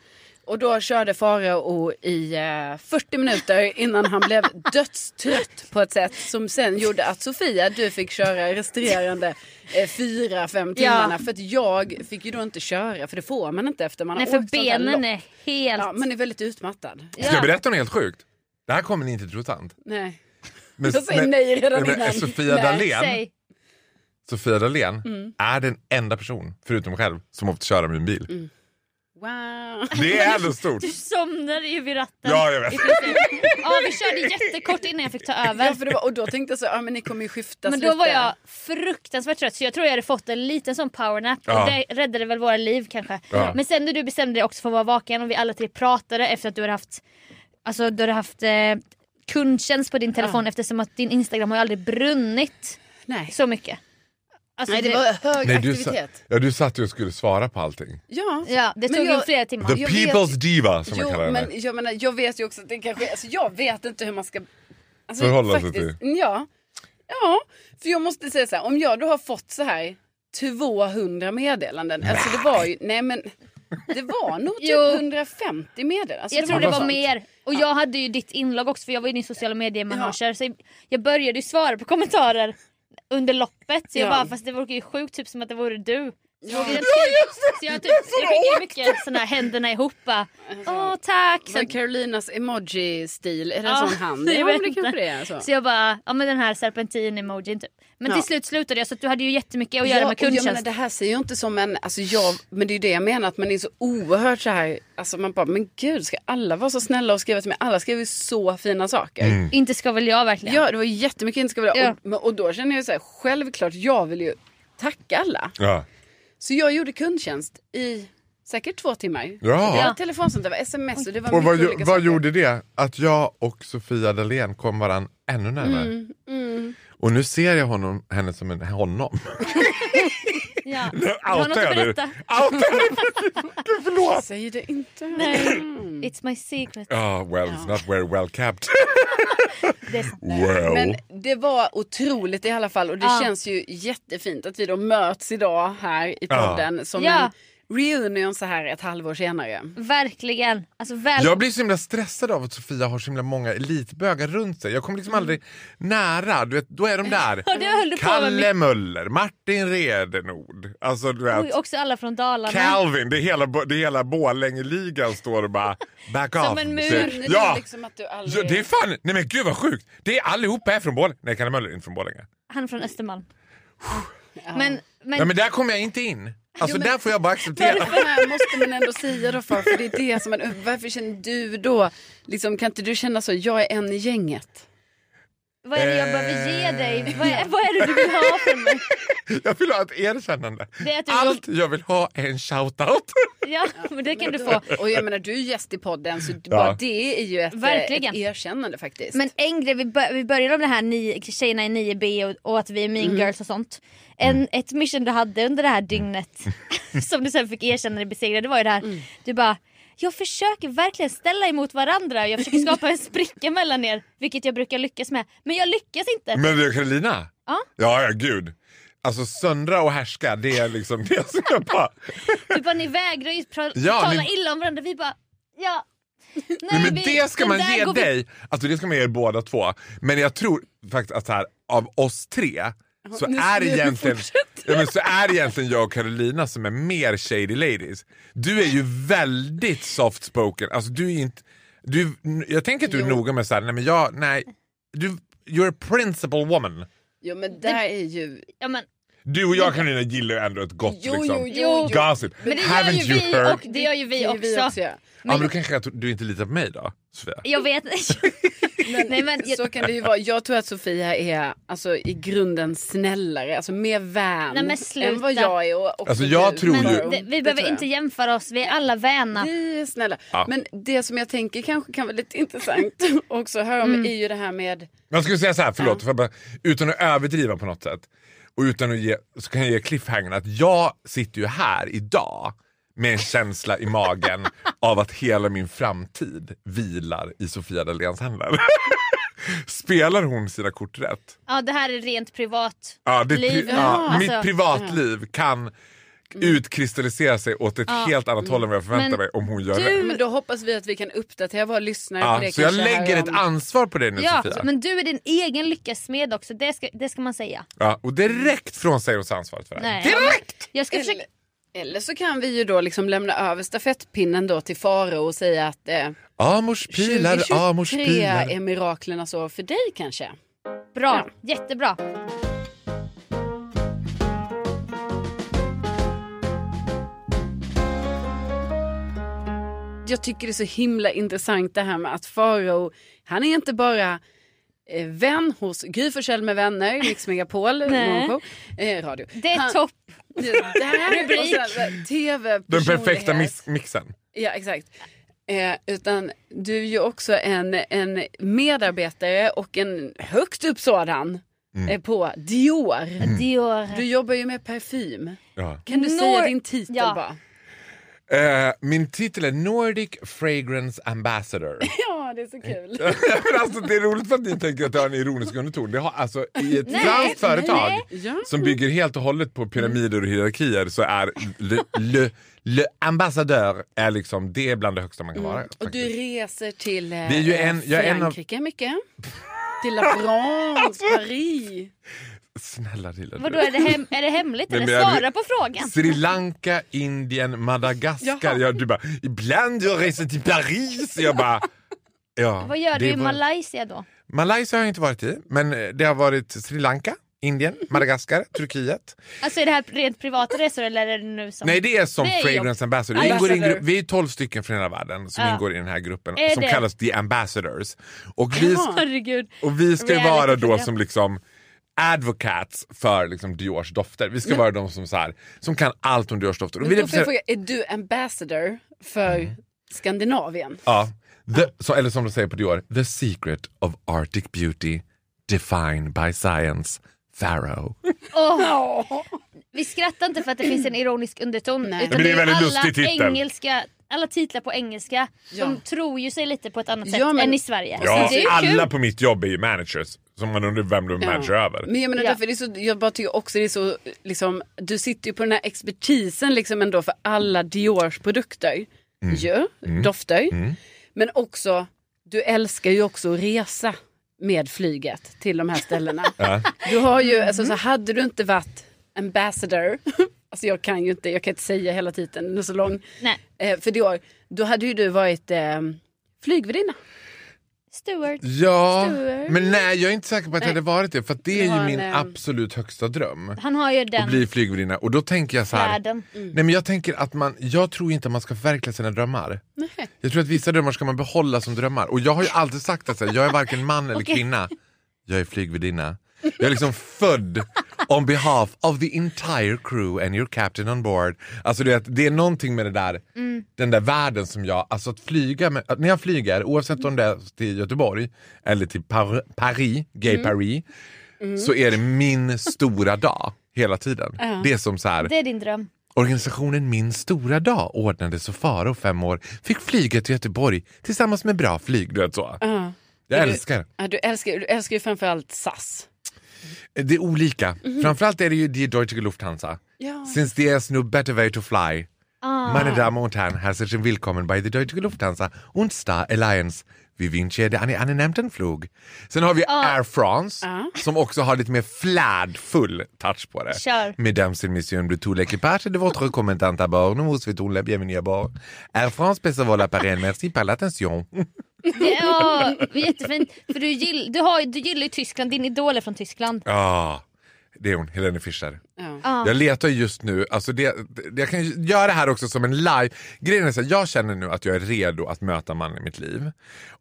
[SPEAKER 1] Och då körde Farao i eh, 40 minuter innan han blev dödstrött på ett sätt som sen gjorde att Sofia, du fick köra resterande eh, fyra, fem timmarna. För att jag fick ju då inte köra, för det får man inte efter man
[SPEAKER 2] Nej
[SPEAKER 1] har
[SPEAKER 2] för
[SPEAKER 1] åkt sånt här
[SPEAKER 2] benen
[SPEAKER 1] lopp.
[SPEAKER 2] är helt...
[SPEAKER 1] Ja, man är väldigt utmattad.
[SPEAKER 3] Ska jag berätta något helt sjukt? Det här kommer ni inte tro sant.
[SPEAKER 1] Nej.
[SPEAKER 3] Men,
[SPEAKER 1] Jag säger nej redan
[SPEAKER 3] men eh,
[SPEAKER 1] innan.
[SPEAKER 3] Sofia
[SPEAKER 1] Nej, Mm.
[SPEAKER 3] Dalén,
[SPEAKER 2] Säg.
[SPEAKER 3] Sofia Dalén är den enda person, förutom mig själv, som har fått köra min bil.
[SPEAKER 1] Mm. Wow.
[SPEAKER 3] Det är ändå stort.
[SPEAKER 2] Du somnade ju vid ratten.
[SPEAKER 3] Ja, jag vet.
[SPEAKER 2] Ja, vi körde jättekort innan jag fick ta
[SPEAKER 1] Ja,
[SPEAKER 2] över.
[SPEAKER 1] för det var, och då tänkte jag alltså, så, ja men ni kommer ju skiftas
[SPEAKER 2] Men då var
[SPEAKER 1] lite.
[SPEAKER 2] jag fruktansvärt trött så jag tror jag hade fått en liten sån powernap
[SPEAKER 3] Ja.
[SPEAKER 2] och det räddade väl våra liv kanske.
[SPEAKER 3] Ja.
[SPEAKER 2] Men sen när du bestämde dig också för att vara vaken och vi alla tre pratade efter att du hade haft, alltså, du hade haft eh, kundtjänst på din telefon eftersom att din Instagram har ju aldrig brunnit
[SPEAKER 1] Nej.
[SPEAKER 2] så mycket. Alltså,
[SPEAKER 1] Nej, det var hög
[SPEAKER 3] Nej, du, sa,
[SPEAKER 1] aktivitet.
[SPEAKER 3] ja, du satt ju och skulle svara på allting.
[SPEAKER 1] Ja.
[SPEAKER 2] Ja, det
[SPEAKER 1] Men
[SPEAKER 2] tog ju
[SPEAKER 1] jag-
[SPEAKER 2] flera timmar.
[SPEAKER 3] The
[SPEAKER 1] jag vet-
[SPEAKER 3] people's diva som man
[SPEAKER 1] Jo,
[SPEAKER 3] kallar henne.
[SPEAKER 1] men jag menar, jag vet ju också att det kanske, alltså jag vet inte hur man ska... Alltså,
[SPEAKER 3] Förhålla sig
[SPEAKER 1] till? Ja. Ja, för jag måste säga så här, om jag då har fått så här 200 meddelanden, alltså det var ju, nej men det var nog typ
[SPEAKER 2] Jo.
[SPEAKER 1] 150 meddelanden. Alltså,
[SPEAKER 2] Jag tror det
[SPEAKER 1] något
[SPEAKER 2] var
[SPEAKER 1] sånt.
[SPEAKER 2] mer. Och jag hade ju ditt inlag också för jag var ju din sociala mediemanager. Så jag började ju svara på kommentarer under loppet. Så jag
[SPEAKER 1] Ja.
[SPEAKER 2] bara, fast det vore ju sjukt typ som att det vore du. Ja, just det! Så jag, typ, jag skickar ju mycket såna här händerna ihop bara, Åh tack!
[SPEAKER 1] Sen
[SPEAKER 2] Sen,
[SPEAKER 1] Carolinas emoji-stil, är det
[SPEAKER 2] Ja,
[SPEAKER 1] en sån hand?
[SPEAKER 2] jag
[SPEAKER 1] Ja,
[SPEAKER 2] vet
[SPEAKER 1] men det
[SPEAKER 2] inte.
[SPEAKER 1] kanske det är. Så.
[SPEAKER 2] så jag bara, ja men den här serpentin-emojin typ. Men till
[SPEAKER 1] Ja.
[SPEAKER 2] slut slutade jag så att du hade ju jättemycket att göra med
[SPEAKER 1] och jag menar,
[SPEAKER 2] kundtjänst.
[SPEAKER 1] det här ser ju inte som en, alltså jag, men det är ju det jag menar att man är så oerhört så här, alltså man bara, men gud ska alla vara så snälla och skriva till mig? Alla skriver ju så fina saker.
[SPEAKER 3] Mm.
[SPEAKER 2] Inte ska väl jag verkligen?
[SPEAKER 1] Ja, det var ju jättemycket inte ska vilja.
[SPEAKER 2] Ja.
[SPEAKER 1] Och, men- och då känner jag så här, självklart jag vill ju tacka alla.
[SPEAKER 3] Ja.
[SPEAKER 1] Så jag gjorde kundtjänst i säkert två timmar.
[SPEAKER 3] Ja.
[SPEAKER 1] Det var telefonsamtal, det var sms och det var
[SPEAKER 3] Och vad,
[SPEAKER 1] mycket
[SPEAKER 3] gjo-
[SPEAKER 1] olika
[SPEAKER 3] vad
[SPEAKER 1] saker.
[SPEAKER 3] gjorde det? Att jag och Sofia Dalén kom varandra ännu närmare.
[SPEAKER 1] Mm,
[SPEAKER 3] Och nu ser jag honom, henne som en honom.
[SPEAKER 2] Ja.
[SPEAKER 3] Outar
[SPEAKER 2] har något att
[SPEAKER 3] dig.
[SPEAKER 2] berätta.
[SPEAKER 3] Outar jag dig. Gud, Förlåt!
[SPEAKER 1] Säg det inte.
[SPEAKER 2] Nej,
[SPEAKER 1] Mm.
[SPEAKER 2] it's my secret.
[SPEAKER 3] Ja, Ah, well, it's not very well kept.
[SPEAKER 2] Det är sant.
[SPEAKER 3] Wow.
[SPEAKER 1] Men det var otroligt i alla fall och det känns ju jättefint att vi då möts idag här i
[SPEAKER 3] Ja.
[SPEAKER 1] podden som
[SPEAKER 2] Ja.
[SPEAKER 1] en reunion så här ett halvår senare.
[SPEAKER 2] Verkligen. Alltså, väl...
[SPEAKER 3] Jag blir så himla stressad av att Sofia har så himla många elitbögar runt sig. Jag kommer liksom aldrig nära. Du vet, då är de där.
[SPEAKER 2] Mm. Ja, det höll du på med
[SPEAKER 3] Kalle Möller, Martin Redenord. Alltså, du vet,
[SPEAKER 2] Oj, också alla från Dalarna.
[SPEAKER 3] Calvin, det är hela, det är hela Borlängeligan står och bara back off.
[SPEAKER 2] Som en mur.
[SPEAKER 3] Så-
[SPEAKER 2] Men det
[SPEAKER 1] är
[SPEAKER 3] Ja.
[SPEAKER 1] liksom att du
[SPEAKER 3] ja,
[SPEAKER 1] aldrig-
[SPEAKER 3] det är fan, nej men gud vad sjukt. Det är allihopa är från Borlänge. Nej, Kalle Möller är inte från Borlänge.
[SPEAKER 2] Han är från Östermalm. Men, men,
[SPEAKER 3] Nej men där kommer jag inte in. Alltså där får jag bara acceptera.
[SPEAKER 1] Varför här måste man ändå säga då för, för det är det som man, varför känner du då, liksom, kan inte du känna så, jag är en i gänget?
[SPEAKER 2] vad är det
[SPEAKER 3] eh,
[SPEAKER 2] jag behöver ge dig? Vad är, vad är det du vill ha från mig?
[SPEAKER 3] Jag vill ha ett erkännande.
[SPEAKER 2] Det är att du-
[SPEAKER 3] Allt jag vill ha är en shoutout.
[SPEAKER 2] Ja, men det kan du få.
[SPEAKER 1] Och jag menar du är gäst i podden så bara det är ju ett, eh,
[SPEAKER 2] Verkligen.
[SPEAKER 1] ett erkännande faktiskt.
[SPEAKER 2] Men en grej, vi, bör, vi började om det här ni, tjejerna i 9B och, och att vi är mean girls och sånt. En,
[SPEAKER 3] Mm.
[SPEAKER 2] Ett mission du hade under det här dygnet som du sen fick erkänna dig besegrad, det var ju det här. Du bara, jag försöker verkligen ställa emot varandra och jag försöker skapa en spricka mellan er. Vilket jag brukar lyckas med. Men jag lyckas inte.
[SPEAKER 3] Men du Carolina?
[SPEAKER 2] Ja.
[SPEAKER 3] ja, ja gud. Alltså söndra och härska, det är liksom det som jag bara...
[SPEAKER 2] Typ bara ni vägrar ju pra-
[SPEAKER 3] Ja,
[SPEAKER 2] tala
[SPEAKER 3] ni-
[SPEAKER 2] illa om varandra. Vi bara, ja. Nej,
[SPEAKER 3] Nej, men
[SPEAKER 2] vi-
[SPEAKER 3] det ska
[SPEAKER 2] den
[SPEAKER 3] man
[SPEAKER 2] där
[SPEAKER 3] ge
[SPEAKER 2] går vi-
[SPEAKER 3] dig. Alltså det ska man ge er båda två. Men jag tror faktiskt att så här, av oss tre så
[SPEAKER 1] nu-
[SPEAKER 3] är, det
[SPEAKER 1] nu
[SPEAKER 3] egentligen, ja, men så är det egentligen jag och Carolina som är mer shady ladies. Du är ju väldigt soft spoken. Alltså du är inte... Du, jag tänker att du är noga med så här, nej men jag, nej. Du, you're a principal woman.
[SPEAKER 1] Jo men där är ju,
[SPEAKER 2] Ja, men,
[SPEAKER 3] Du och jag Carolina gillar ju ändå ett gott
[SPEAKER 1] Jo,
[SPEAKER 3] liksom.
[SPEAKER 1] jo, jo,
[SPEAKER 2] jo.
[SPEAKER 3] gossip.
[SPEAKER 2] men det gör
[SPEAKER 3] Haven't
[SPEAKER 2] ju
[SPEAKER 3] you
[SPEAKER 2] vi
[SPEAKER 3] heard?
[SPEAKER 2] och det gör ju vi
[SPEAKER 1] det är ju vi
[SPEAKER 2] också.
[SPEAKER 1] också. ja.
[SPEAKER 3] ja, men då kanske jag, du inte litar på mig då, Sofia?
[SPEAKER 2] Jag vet Nej, men, jag,
[SPEAKER 1] Så kan det ju vara. Jag tror att Sofia är alltså, i grunden snällare, alltså mer vän
[SPEAKER 2] Nej, men sluta.
[SPEAKER 1] än vad jag är. Och också
[SPEAKER 3] Alltså, jag
[SPEAKER 1] du,
[SPEAKER 3] tror
[SPEAKER 2] men
[SPEAKER 3] ju-
[SPEAKER 1] Karo.
[SPEAKER 2] det, vi
[SPEAKER 1] Det
[SPEAKER 2] behöver
[SPEAKER 1] tror jag.
[SPEAKER 2] inte jämföra oss, vi är alla väna.
[SPEAKER 1] Vi är snälla. Men det som jag tänker kanske kan vara lite intressant också att höra om
[SPEAKER 2] Mm.
[SPEAKER 1] är ju det här med
[SPEAKER 3] Man skulle säga så här, förlåt, för bara, utan att överdriva på något sätt. Och utan att ge, så kan jag ge cliffhangern att jag sitter ju här idag med en känsla i magen av att hela min framtid vilar i Sofia Dahléns händer. Spelar hon sina kort rätt?
[SPEAKER 2] Ja, det här är rent privat.
[SPEAKER 3] Ja, det,
[SPEAKER 2] Liv.
[SPEAKER 3] pri- ja,
[SPEAKER 2] Ja,
[SPEAKER 3] mitt
[SPEAKER 2] alltså. Mm.
[SPEAKER 3] privatliv kan utkristallisera sig åt ett helt annat håll än vad jag förväntar
[SPEAKER 2] Men
[SPEAKER 3] mig om hon gör
[SPEAKER 1] du,
[SPEAKER 3] det.
[SPEAKER 1] men då hoppas vi att vi kan uppdatera våra lyssnare
[SPEAKER 3] Ja,
[SPEAKER 1] på det
[SPEAKER 3] så jag
[SPEAKER 1] kanske
[SPEAKER 3] lägger
[SPEAKER 1] här
[SPEAKER 3] ett
[SPEAKER 1] om-
[SPEAKER 3] ansvar på dig nu
[SPEAKER 2] Ja,
[SPEAKER 3] Sofia.
[SPEAKER 2] men du är din egen lyckas smed också, det ska, det ska man säga.
[SPEAKER 3] Ja, och direkt från sig oss ansvaret för det här.
[SPEAKER 2] Nej.
[SPEAKER 3] Direkt!
[SPEAKER 2] Jag ska försöka...
[SPEAKER 1] Eller, eller så kan vi ju då liksom lämna över stafettpinnen då till Faro och säga att eh,
[SPEAKER 3] Amors pilar, Amors
[SPEAKER 1] 2023
[SPEAKER 3] pilar.
[SPEAKER 1] är miraklernas år för dig kanske.
[SPEAKER 2] Bra, jättebra.
[SPEAKER 1] Jag tycker det är så himla intressant det här med att Farao, han är inte bara eh, vän hos Gry Forssell med vänner, Mix Megapol, morgonshow, eh, radio.
[SPEAKER 2] Det är
[SPEAKER 1] Han-
[SPEAKER 2] topp.
[SPEAKER 1] Det det här är
[SPEAKER 2] Rubrik.
[SPEAKER 1] rubrik. TV
[SPEAKER 3] Den perfekta mis- mixen.
[SPEAKER 1] Ja, exakt. Eh, utan du är ju också en, en medarbetare och en högt upp sådan
[SPEAKER 3] Mm.
[SPEAKER 1] eh, på Dior.
[SPEAKER 2] Dior.
[SPEAKER 1] Du jobbar ju med parfym.
[SPEAKER 3] Ja.
[SPEAKER 1] Kan du
[SPEAKER 2] Nor-
[SPEAKER 1] säga din titel
[SPEAKER 2] Ja.
[SPEAKER 1] bara?
[SPEAKER 3] Eh, min titel är Nordic Fragrance Ambassador.
[SPEAKER 1] Ja, det är så kul.
[SPEAKER 3] Men alltså, det är roligt för att ni tänker att det har en ironisk underton. Det har, alltså, I ett franskt företag
[SPEAKER 1] Ja.
[SPEAKER 3] som bygger helt och hållet på pyramider och hierarkier så är le, le, le ambassadör är liksom, det är bland det högsta man kan vara.
[SPEAKER 1] Och du
[SPEAKER 3] faktiskt.
[SPEAKER 1] reser till eh,
[SPEAKER 3] Det är ju en- jag är en av-
[SPEAKER 1] Frankrike mycket. Till La France, Paris.
[SPEAKER 3] Snälla lilla du.
[SPEAKER 2] Vadå, är det, hem, är det hemligt?
[SPEAKER 3] Nej,
[SPEAKER 2] Eller
[SPEAKER 3] men jag-
[SPEAKER 2] svara på frågan.
[SPEAKER 3] Sri Lanka, Indien, Madagaskar.
[SPEAKER 1] Jaha.
[SPEAKER 3] Ja, du bara, ibland jag reser till Paris. Jag bara, ja,
[SPEAKER 2] Vad gör
[SPEAKER 3] det
[SPEAKER 2] du i
[SPEAKER 3] var-
[SPEAKER 2] Malaysia då?
[SPEAKER 3] Malaysia har jag inte varit i, men eh, det har varit Sri Lanka, Indien, Madagaskar, Turkiet.
[SPEAKER 2] Alltså är det här rent privata resor eller är det nu som...
[SPEAKER 3] Nej, det är som
[SPEAKER 2] Det är
[SPEAKER 3] Fragrance Ambassador. Vi, ingår i en grupp, vi är 12 stycken från hela världen som
[SPEAKER 2] Ja.
[SPEAKER 3] ingår i den här gruppen
[SPEAKER 2] Är
[SPEAKER 3] som
[SPEAKER 2] det-
[SPEAKER 3] kallas The Ambassadors. Och vi,
[SPEAKER 2] Herregud.
[SPEAKER 3] och vi ska ju
[SPEAKER 2] Reality
[SPEAKER 3] vara då
[SPEAKER 2] program.
[SPEAKER 3] som liksom advocates för liksom Diors dofter. Vi ska vara de som, så här, som kan allt om Diors dofter. Och vi
[SPEAKER 1] Men då får
[SPEAKER 3] representerar-
[SPEAKER 1] jag fråga, är du ambassador för
[SPEAKER 3] Mm.
[SPEAKER 1] Skandinavien?
[SPEAKER 3] Ja. The, så, eller som de säger på Dior, the secret of Arctic beauty defined by science. Pharaoh.
[SPEAKER 2] Åh. Vi skrattar inte för att det finns en ironisk underton.
[SPEAKER 1] Nej.
[SPEAKER 2] Utan
[SPEAKER 3] Men det är en väldigt
[SPEAKER 2] alla
[SPEAKER 3] lustig titel.
[SPEAKER 2] Engelska, alla titlar på engelska, de tror ju sig lite på ett annat sätt
[SPEAKER 1] Ja, men-
[SPEAKER 2] än i Sverige.
[SPEAKER 3] Ja,
[SPEAKER 2] Alltså, det är ju
[SPEAKER 3] alla
[SPEAKER 2] kul.
[SPEAKER 3] på mitt jobb är ju managers. Som man undrar vem du är manager över.
[SPEAKER 1] Men jag menar
[SPEAKER 2] Ja.
[SPEAKER 1] därför det är så, jag bara tycker också det är så, liksom, du sitter ju på den här expertisen liksom ändå för alla Diors produkter. Ju, dofter. Men också, du älskar ju också att resa med flyget till de här ställena. Du har ju, alltså, så hade du inte varit ambassador, alltså jag kan ju inte, jag kan inte säga hela titeln, den är så lång.
[SPEAKER 2] Nej.
[SPEAKER 1] Eh, för Dior, då hade ju du varit eh, flygvärdinna.
[SPEAKER 2] Stewart.
[SPEAKER 3] Ja,
[SPEAKER 2] Stuart.
[SPEAKER 3] men nej jag är inte säker på att jag hade varit det. För att det är
[SPEAKER 1] var
[SPEAKER 3] ju min
[SPEAKER 1] en, ehm,
[SPEAKER 3] absolut högsta dröm.
[SPEAKER 2] Han har ju
[SPEAKER 3] Att
[SPEAKER 2] den
[SPEAKER 3] bli flygvärdinna. Och då tänker jag så här.
[SPEAKER 2] världen. Mm.
[SPEAKER 3] Nej men jag tänker att man, jag tror inte att man ska förverkliga sina drömmar. Jag tror att vissa drömmar ska man behålla som drömmar. Och jag har ju alltid sagt att så här, jag är varken man eller kvinna. Jag är flygvärdinna. Jag är liksom född on behalf of the entire crew and your captain on board. Alltså det, det är någonting med det där, den där världen som jag, alltså att flyga, med, att när jag flyger, oavsett om det är till Göteborg eller till Par- Paris, Gay Paris, så är det min stora dag hela tiden. Det är som så här,
[SPEAKER 2] Det är din dröm.
[SPEAKER 3] Organisationen Min stora dag ordnade så Faro fem år fick flyga till Göteborg tillsammans med bra flyg. Du vet så. Jag älskar.
[SPEAKER 1] Ja, du, älskar, du älskar ju framförallt SAS.
[SPEAKER 3] Det är olika. Framförallt är det ju Die Deutsche Lufthansa.
[SPEAKER 1] Ja.
[SPEAKER 3] Since there is no better way to fly. Meine Damen und Herren, herzlich willkommen bei der Deutsche Lufthansa und Star Alliance. Vi wünsche dir einen annehmten Flug. Sen har vi Air France som också har lite mer flärdfull touch på det.
[SPEAKER 2] Kör.
[SPEAKER 3] Mesdames et messieurs, de tout l'équipage de votre commandant à bord. Nous vous souhaitons la bienvenue à bord. Air France, baisse vol appareil. Merci par l'attention.
[SPEAKER 2] Det, ja, det är jättefint. För du, gill, du, har, ju- du gillar ju Tyskland, din idol är från Tyskland.
[SPEAKER 3] Ja, det är hon, Helene Fischer.
[SPEAKER 1] Ja.
[SPEAKER 3] Jag letar just nu, alltså det, det- jag kan ju göra det här också som en live. Grejen är så här, jag känner nu att jag är redo att möta mannen i mitt liv.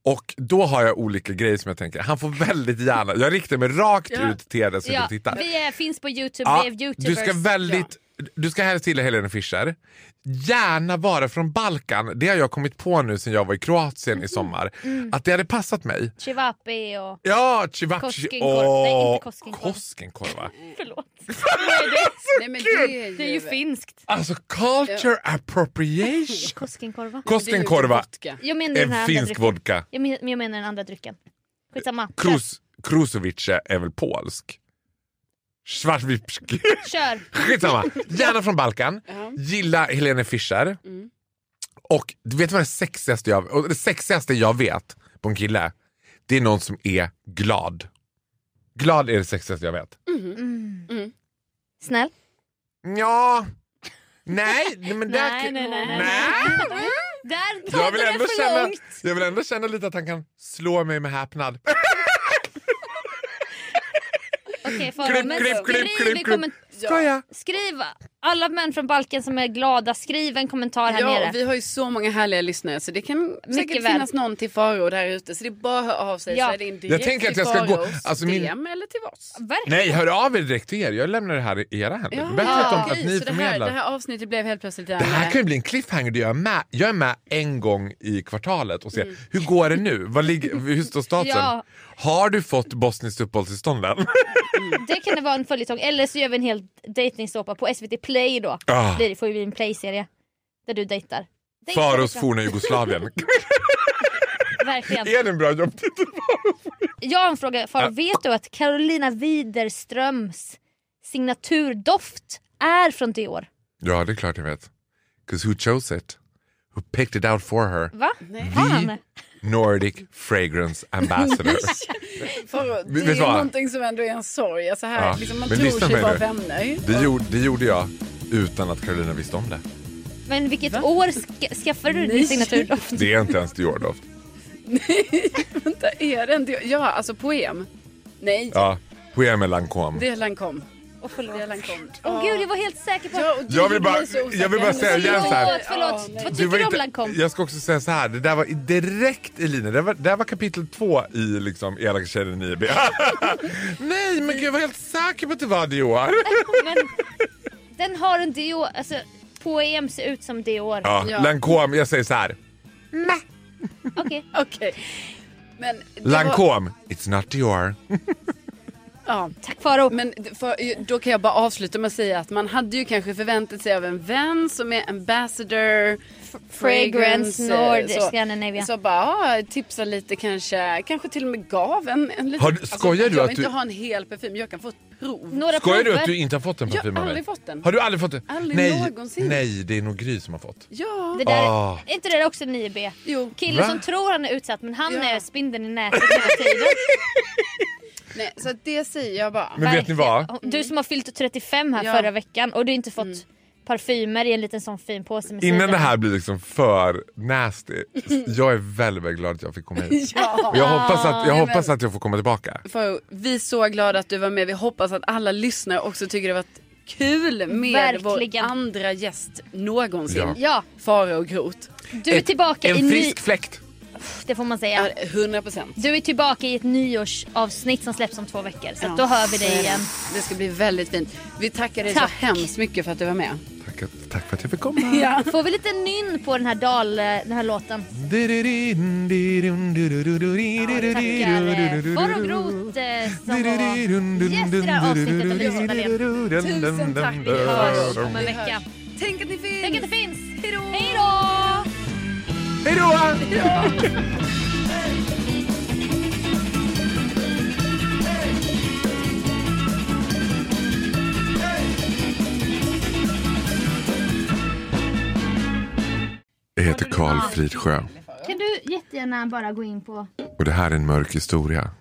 [SPEAKER 3] Och då har jag olika grejer som jag tänker, han får väldigt gärna, jag riktar mig rakt ut till er där som
[SPEAKER 2] Ja,
[SPEAKER 3] tittar.
[SPEAKER 2] vi är, finns på Youtube,
[SPEAKER 3] Ja,
[SPEAKER 2] vi är
[SPEAKER 3] du
[SPEAKER 2] youtubers.
[SPEAKER 3] ska väldigt... Du ska helst gilla Helene Fischer. Gärna vara från Balkan. Det har jag kommit på nu sen jag var i
[SPEAKER 2] Mm.
[SPEAKER 3] Kroatien i sommar. Att det hade passat mig.
[SPEAKER 2] Chivapi och...
[SPEAKER 3] Ja, Civaci
[SPEAKER 2] Koskenkorv. Nej, inte Koskenkorv. Mm.
[SPEAKER 3] Koskenkorva.
[SPEAKER 2] Förlåt.
[SPEAKER 1] Nej, men det, är
[SPEAKER 2] Det är ju finskt.
[SPEAKER 3] Alltså culture appropriation.
[SPEAKER 2] Koskenkorva.
[SPEAKER 3] Koskenkorva
[SPEAKER 1] vodka.
[SPEAKER 2] Jag menar den här
[SPEAKER 3] är
[SPEAKER 2] andra
[SPEAKER 3] finsk
[SPEAKER 2] drycken.
[SPEAKER 3] vodka.
[SPEAKER 2] Jag, men, jag menar den andra drycken. Skitsamma.
[SPEAKER 3] Krus, Krusovice är väl polsk? Svartvipski.
[SPEAKER 2] Kör.
[SPEAKER 3] Skitsamma. Gärna från Balkan. Gilla Helene Fischer.
[SPEAKER 2] Mm.
[SPEAKER 3] Och du vet vad det sexigaste jag, och det sexigaste jag vet på en kille? Det är någon som är glad. Glad är det sexigaste jag vet.
[SPEAKER 2] Snäll.
[SPEAKER 3] Ja. Nej, nej, men där...
[SPEAKER 2] Mm. Nej, nej, nej, nej.
[SPEAKER 3] nej.
[SPEAKER 2] Där
[SPEAKER 3] Jag
[SPEAKER 2] tog
[SPEAKER 3] vill,
[SPEAKER 2] du det
[SPEAKER 3] ändå
[SPEAKER 2] för
[SPEAKER 3] känna,
[SPEAKER 2] långt.
[SPEAKER 3] jag vill ändå känna lite att han kan slå mig med häpnad.
[SPEAKER 2] Okej, Farao,
[SPEAKER 3] Klipp,
[SPEAKER 2] men
[SPEAKER 3] klipp, klipp,
[SPEAKER 2] skriv i
[SPEAKER 3] klipp, klipp.
[SPEAKER 2] komment-
[SPEAKER 3] Skoja.
[SPEAKER 2] Skriv alla män från Balkan som är glada, skriv en kommentar här
[SPEAKER 1] Ja,
[SPEAKER 2] nere.
[SPEAKER 1] och vi har ju så många härliga lyssnare så det kan säkert
[SPEAKER 2] väl.
[SPEAKER 1] finnas någon till Faro där ute. Så det är bara att höra av sig.
[SPEAKER 2] Ja.
[SPEAKER 1] Så är det in direkt
[SPEAKER 3] Jag tänker att
[SPEAKER 1] till
[SPEAKER 3] jag ska gå-
[SPEAKER 1] Faros
[SPEAKER 3] alltså min-
[SPEAKER 1] DM eller till oss.
[SPEAKER 2] Verkligen.
[SPEAKER 3] Nej, hör av er direkt till er. Jag lämnar det här i era händer. Bättre att, de,
[SPEAKER 1] okej,
[SPEAKER 3] att ni
[SPEAKER 1] så det här,
[SPEAKER 3] förmedlar.
[SPEAKER 1] det här avsnittet blev helt plötsligt en,
[SPEAKER 3] Det här kan ju bli en cliffhanger där jag är med, jag är med en gång i kvartalet och ser
[SPEAKER 1] Mm.
[SPEAKER 3] hur går det nu? Vad ligger, hur står statusen?
[SPEAKER 2] Ja.
[SPEAKER 3] Har du fått bosniskt uppehållstillstånd än?
[SPEAKER 2] Det kan det vara en följetong. Eller så gör vi en hel dejtingsåpa på SVT Play då.
[SPEAKER 3] Ah.
[SPEAKER 2] Blir Det får ju bli en play-serie. Där du dejtar. Dejtar,
[SPEAKER 3] Faros
[SPEAKER 2] dejtar.
[SPEAKER 3] forna Jugoslavien.
[SPEAKER 2] Verkligen.
[SPEAKER 3] är det en bra jobbtitel?
[SPEAKER 2] Jag har en fråga. Faro, vet du att Carolina Widerströms signaturdoft är från Dior?
[SPEAKER 3] Ja, det är klart jag vet. 'Cause who chose it? who picked it out for her.
[SPEAKER 2] Va? Har han
[SPEAKER 3] The
[SPEAKER 2] det?
[SPEAKER 3] Nordic Fragrance Ambassador.
[SPEAKER 1] För, eh, det
[SPEAKER 3] vet
[SPEAKER 1] är
[SPEAKER 3] du
[SPEAKER 1] ju
[SPEAKER 3] vad?
[SPEAKER 1] någonting som ändå är en sorg. Alltså här,
[SPEAKER 3] Ja,
[SPEAKER 1] liksom, man
[SPEAKER 3] men
[SPEAKER 1] tror
[SPEAKER 3] lyssna
[SPEAKER 1] sig
[SPEAKER 3] på
[SPEAKER 1] vara
[SPEAKER 3] det.
[SPEAKER 1] vänner.
[SPEAKER 3] det, gjorde, det gjorde jag utan att Carolina visste om det.
[SPEAKER 2] Men vilket år ska, skaffade du din signaturdoft?
[SPEAKER 3] Det är inte ens Dior-doft.
[SPEAKER 1] Vänta, är det inte... Ja, alltså poem. Nej,
[SPEAKER 3] Ja, Poème Lancôme.
[SPEAKER 1] det är Lancome.
[SPEAKER 2] Åh förlåt.
[SPEAKER 1] Det är Lancome.
[SPEAKER 2] Åh gud, jag var helt säker på...
[SPEAKER 1] Ja, och du
[SPEAKER 3] Jag vill
[SPEAKER 1] gjorde
[SPEAKER 3] bara-
[SPEAKER 1] mig så
[SPEAKER 3] jag
[SPEAKER 1] osäker.
[SPEAKER 3] vill bara säga igen så här.
[SPEAKER 2] Förlåt, förlåt.
[SPEAKER 1] Ja,
[SPEAKER 2] Vad
[SPEAKER 3] Det var
[SPEAKER 2] tycker du om
[SPEAKER 3] inte-
[SPEAKER 2] Lancome?
[SPEAKER 3] Jag ska också säga så här, det där var direkt i linjen. Det var, det här var kapitel två i liksom Elaka tjejer i 9B. Nej, men gud, jag var helt säker på att det var Dior.
[SPEAKER 2] Men den har en Dior, alltså Poem ser ut som Dior.
[SPEAKER 3] Ja,
[SPEAKER 1] Ja.
[SPEAKER 3] Lancôme, jag säger så här.
[SPEAKER 2] Okej.
[SPEAKER 1] Okej. Men det var-
[SPEAKER 3] Lancôme, it's not Dior.
[SPEAKER 1] Ja.
[SPEAKER 2] Tack Faro.
[SPEAKER 1] Men d- för, eh, då kan jag bara avsluta med att säga att man hade ju kanske förväntat sig av en vän som är ambassador,
[SPEAKER 2] Fragrance
[SPEAKER 1] eh,
[SPEAKER 2] Nord Scandinavia.
[SPEAKER 1] Så bara ja, tipsa lite kanske, kanske till och med gav en, en liten. Alltså,
[SPEAKER 3] Har du- skojar
[SPEAKER 1] jag
[SPEAKER 3] du
[SPEAKER 1] Jag
[SPEAKER 3] att
[SPEAKER 1] vill
[SPEAKER 3] du-
[SPEAKER 1] inte ha en hel parfym, jag kan få ett prov.
[SPEAKER 2] Några
[SPEAKER 3] Skojar du
[SPEAKER 2] prover.
[SPEAKER 3] att du inte har fått en
[SPEAKER 1] Jag har
[SPEAKER 3] parfym av mig?
[SPEAKER 1] aldrig fått den.
[SPEAKER 3] Har du aldrig fått den?
[SPEAKER 1] Aldrig
[SPEAKER 3] Nej,
[SPEAKER 1] någonsin.
[SPEAKER 3] Nej, det är nog Gry som har fått.
[SPEAKER 1] Ja,
[SPEAKER 2] Det där,
[SPEAKER 3] Ah.
[SPEAKER 2] Är inte det där också 9B?
[SPEAKER 1] jo.
[SPEAKER 2] Killen
[SPEAKER 3] Va?
[SPEAKER 2] som tror han är utsatt men han
[SPEAKER 1] Ja.
[SPEAKER 2] är spindeln i nätet hela tiden.
[SPEAKER 1] Nej, så att det säger jag bara.
[SPEAKER 3] Men vet ni vad?
[SPEAKER 2] Verkligen. Du som har fyllt 35 här
[SPEAKER 1] Ja. Mm.
[SPEAKER 2] förra veckan och du inte fått parfymer i en liten sån fin påse med
[SPEAKER 3] Innan
[SPEAKER 2] sidor.
[SPEAKER 3] det här blir liksom för nasty, jag är väldigt, väldigt glad att jag fick komma hit.
[SPEAKER 1] Ja.
[SPEAKER 3] Och jag hoppas att jag,
[SPEAKER 1] men-
[SPEAKER 3] hoppas att jag får komma tillbaka.
[SPEAKER 1] För vi är så glada att du var med. Vi hoppas att alla lyssnare också tycker det har varit kul med
[SPEAKER 2] Verkligen.
[SPEAKER 1] vår andra gäst någonsin.
[SPEAKER 3] Ja.
[SPEAKER 2] Ja,
[SPEAKER 1] Faro och Groth.
[SPEAKER 2] du är tillbaka i
[SPEAKER 3] En
[SPEAKER 2] ny...
[SPEAKER 3] frisk fläkt.
[SPEAKER 2] Det får man
[SPEAKER 1] Ja,
[SPEAKER 2] säga.
[SPEAKER 1] 100 procent.
[SPEAKER 2] Du är tillbaka i ett nyårsavsnitt som släpps om två veckor. Så att då hör vi dig igen.
[SPEAKER 1] Det ska bli väldigt fint. Vi tackar dig
[SPEAKER 2] Tack.
[SPEAKER 1] så hemskt mycket för att du var med.
[SPEAKER 3] Tack, att- tack för att jag fick komma.
[SPEAKER 2] Får vi lite nynn på den här dal... Den här låten? Tackar Faro Groth eh, som var gäst i det här avsnittet av Vision Dahlén.
[SPEAKER 1] Tusen tack.
[SPEAKER 2] Vi hörs om en vecka.
[SPEAKER 1] Tänk att ni finns!
[SPEAKER 2] Tänk att det finns! Hej då!
[SPEAKER 3] Hej då! Jag heter Karl Fridsjö
[SPEAKER 2] Kan du jättegärna bara gå in på...
[SPEAKER 3] och det här är en mörk historia.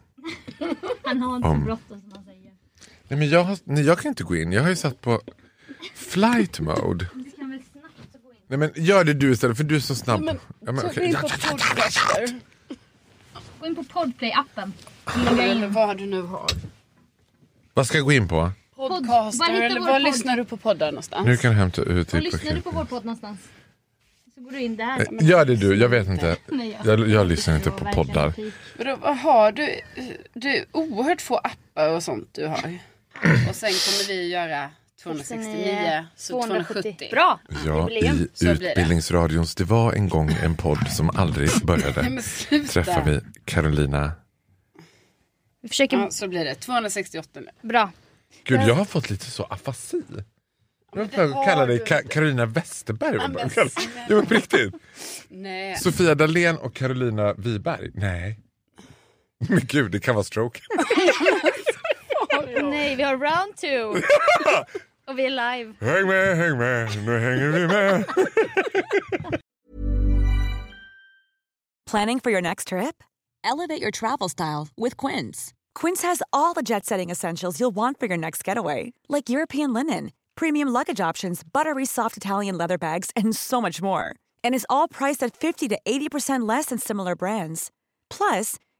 [SPEAKER 2] Han har inte så bråttom som han säger.
[SPEAKER 3] Nej, men jag, har- nej, jag kan inte gå in. Jag har ju satt på flight mode.
[SPEAKER 2] Du kan väl snabbt gå in?
[SPEAKER 3] Nej, men gör det du istället för du är så snabb. Ja, men,
[SPEAKER 1] Gå
[SPEAKER 3] okej.
[SPEAKER 1] in på podcaster.
[SPEAKER 2] Gå in på Podplay-appen.
[SPEAKER 1] Eller vad du nu har.
[SPEAKER 3] Vad ska jag gå in på?
[SPEAKER 2] Var
[SPEAKER 1] Podcaster.
[SPEAKER 2] hittar
[SPEAKER 1] Eller
[SPEAKER 2] vår
[SPEAKER 1] var
[SPEAKER 2] podd?
[SPEAKER 1] lyssnar du på poddar någonstans?
[SPEAKER 3] Nu kan du hämta ut
[SPEAKER 2] Och
[SPEAKER 3] ditt
[SPEAKER 2] lyssnar du
[SPEAKER 3] paket.
[SPEAKER 2] på vår podd någonstans? Så går du in där.
[SPEAKER 3] Nej, Gör det du, jag vet inte.
[SPEAKER 2] Nej, jag-
[SPEAKER 3] Jag, jag lyssnar
[SPEAKER 2] Det
[SPEAKER 3] inte
[SPEAKER 2] var
[SPEAKER 3] på
[SPEAKER 2] verkligen typ
[SPEAKER 3] poddar.
[SPEAKER 1] Vadå,
[SPEAKER 2] peak.
[SPEAKER 1] vad har du? Du är oerhört få appar och sånt du har. Och sen kommer vi göra 269, så 270.
[SPEAKER 2] Bra!
[SPEAKER 3] Ja,
[SPEAKER 2] Jubileum.
[SPEAKER 3] i
[SPEAKER 1] Så blir det.
[SPEAKER 3] Utbildningsradions Det var en gång en podd som aldrig
[SPEAKER 1] Nej,
[SPEAKER 3] började
[SPEAKER 1] men sluta.
[SPEAKER 3] träffar vi Carolina.
[SPEAKER 2] Vi försöker...
[SPEAKER 1] Ja, så blir det. 268 nu.
[SPEAKER 2] Bra.
[SPEAKER 3] Gud, jag har fått lite så afasi. Jag var på väg att kalla dig Ka- Carolina Westerberg. Jag bara, Kar- Jo, men på riktigt.
[SPEAKER 1] Nej.
[SPEAKER 3] Sofia Dalén och Carolina Wiberg. Nej. Men gud, det kan vara stroke.
[SPEAKER 2] Nej, vi har round two. Och vi är live.
[SPEAKER 3] Häng med, häng med, nu hänger vi med.
[SPEAKER 4] Planning for your next trip? Elevate your travel style with Quince. Quince has all the jet setting essentials you'll want for your next getaway, like European linen, premium luggage options, buttery soft Italian leather bags, and so much more. And is all priced at 50 to 80% less than similar brands. Plus,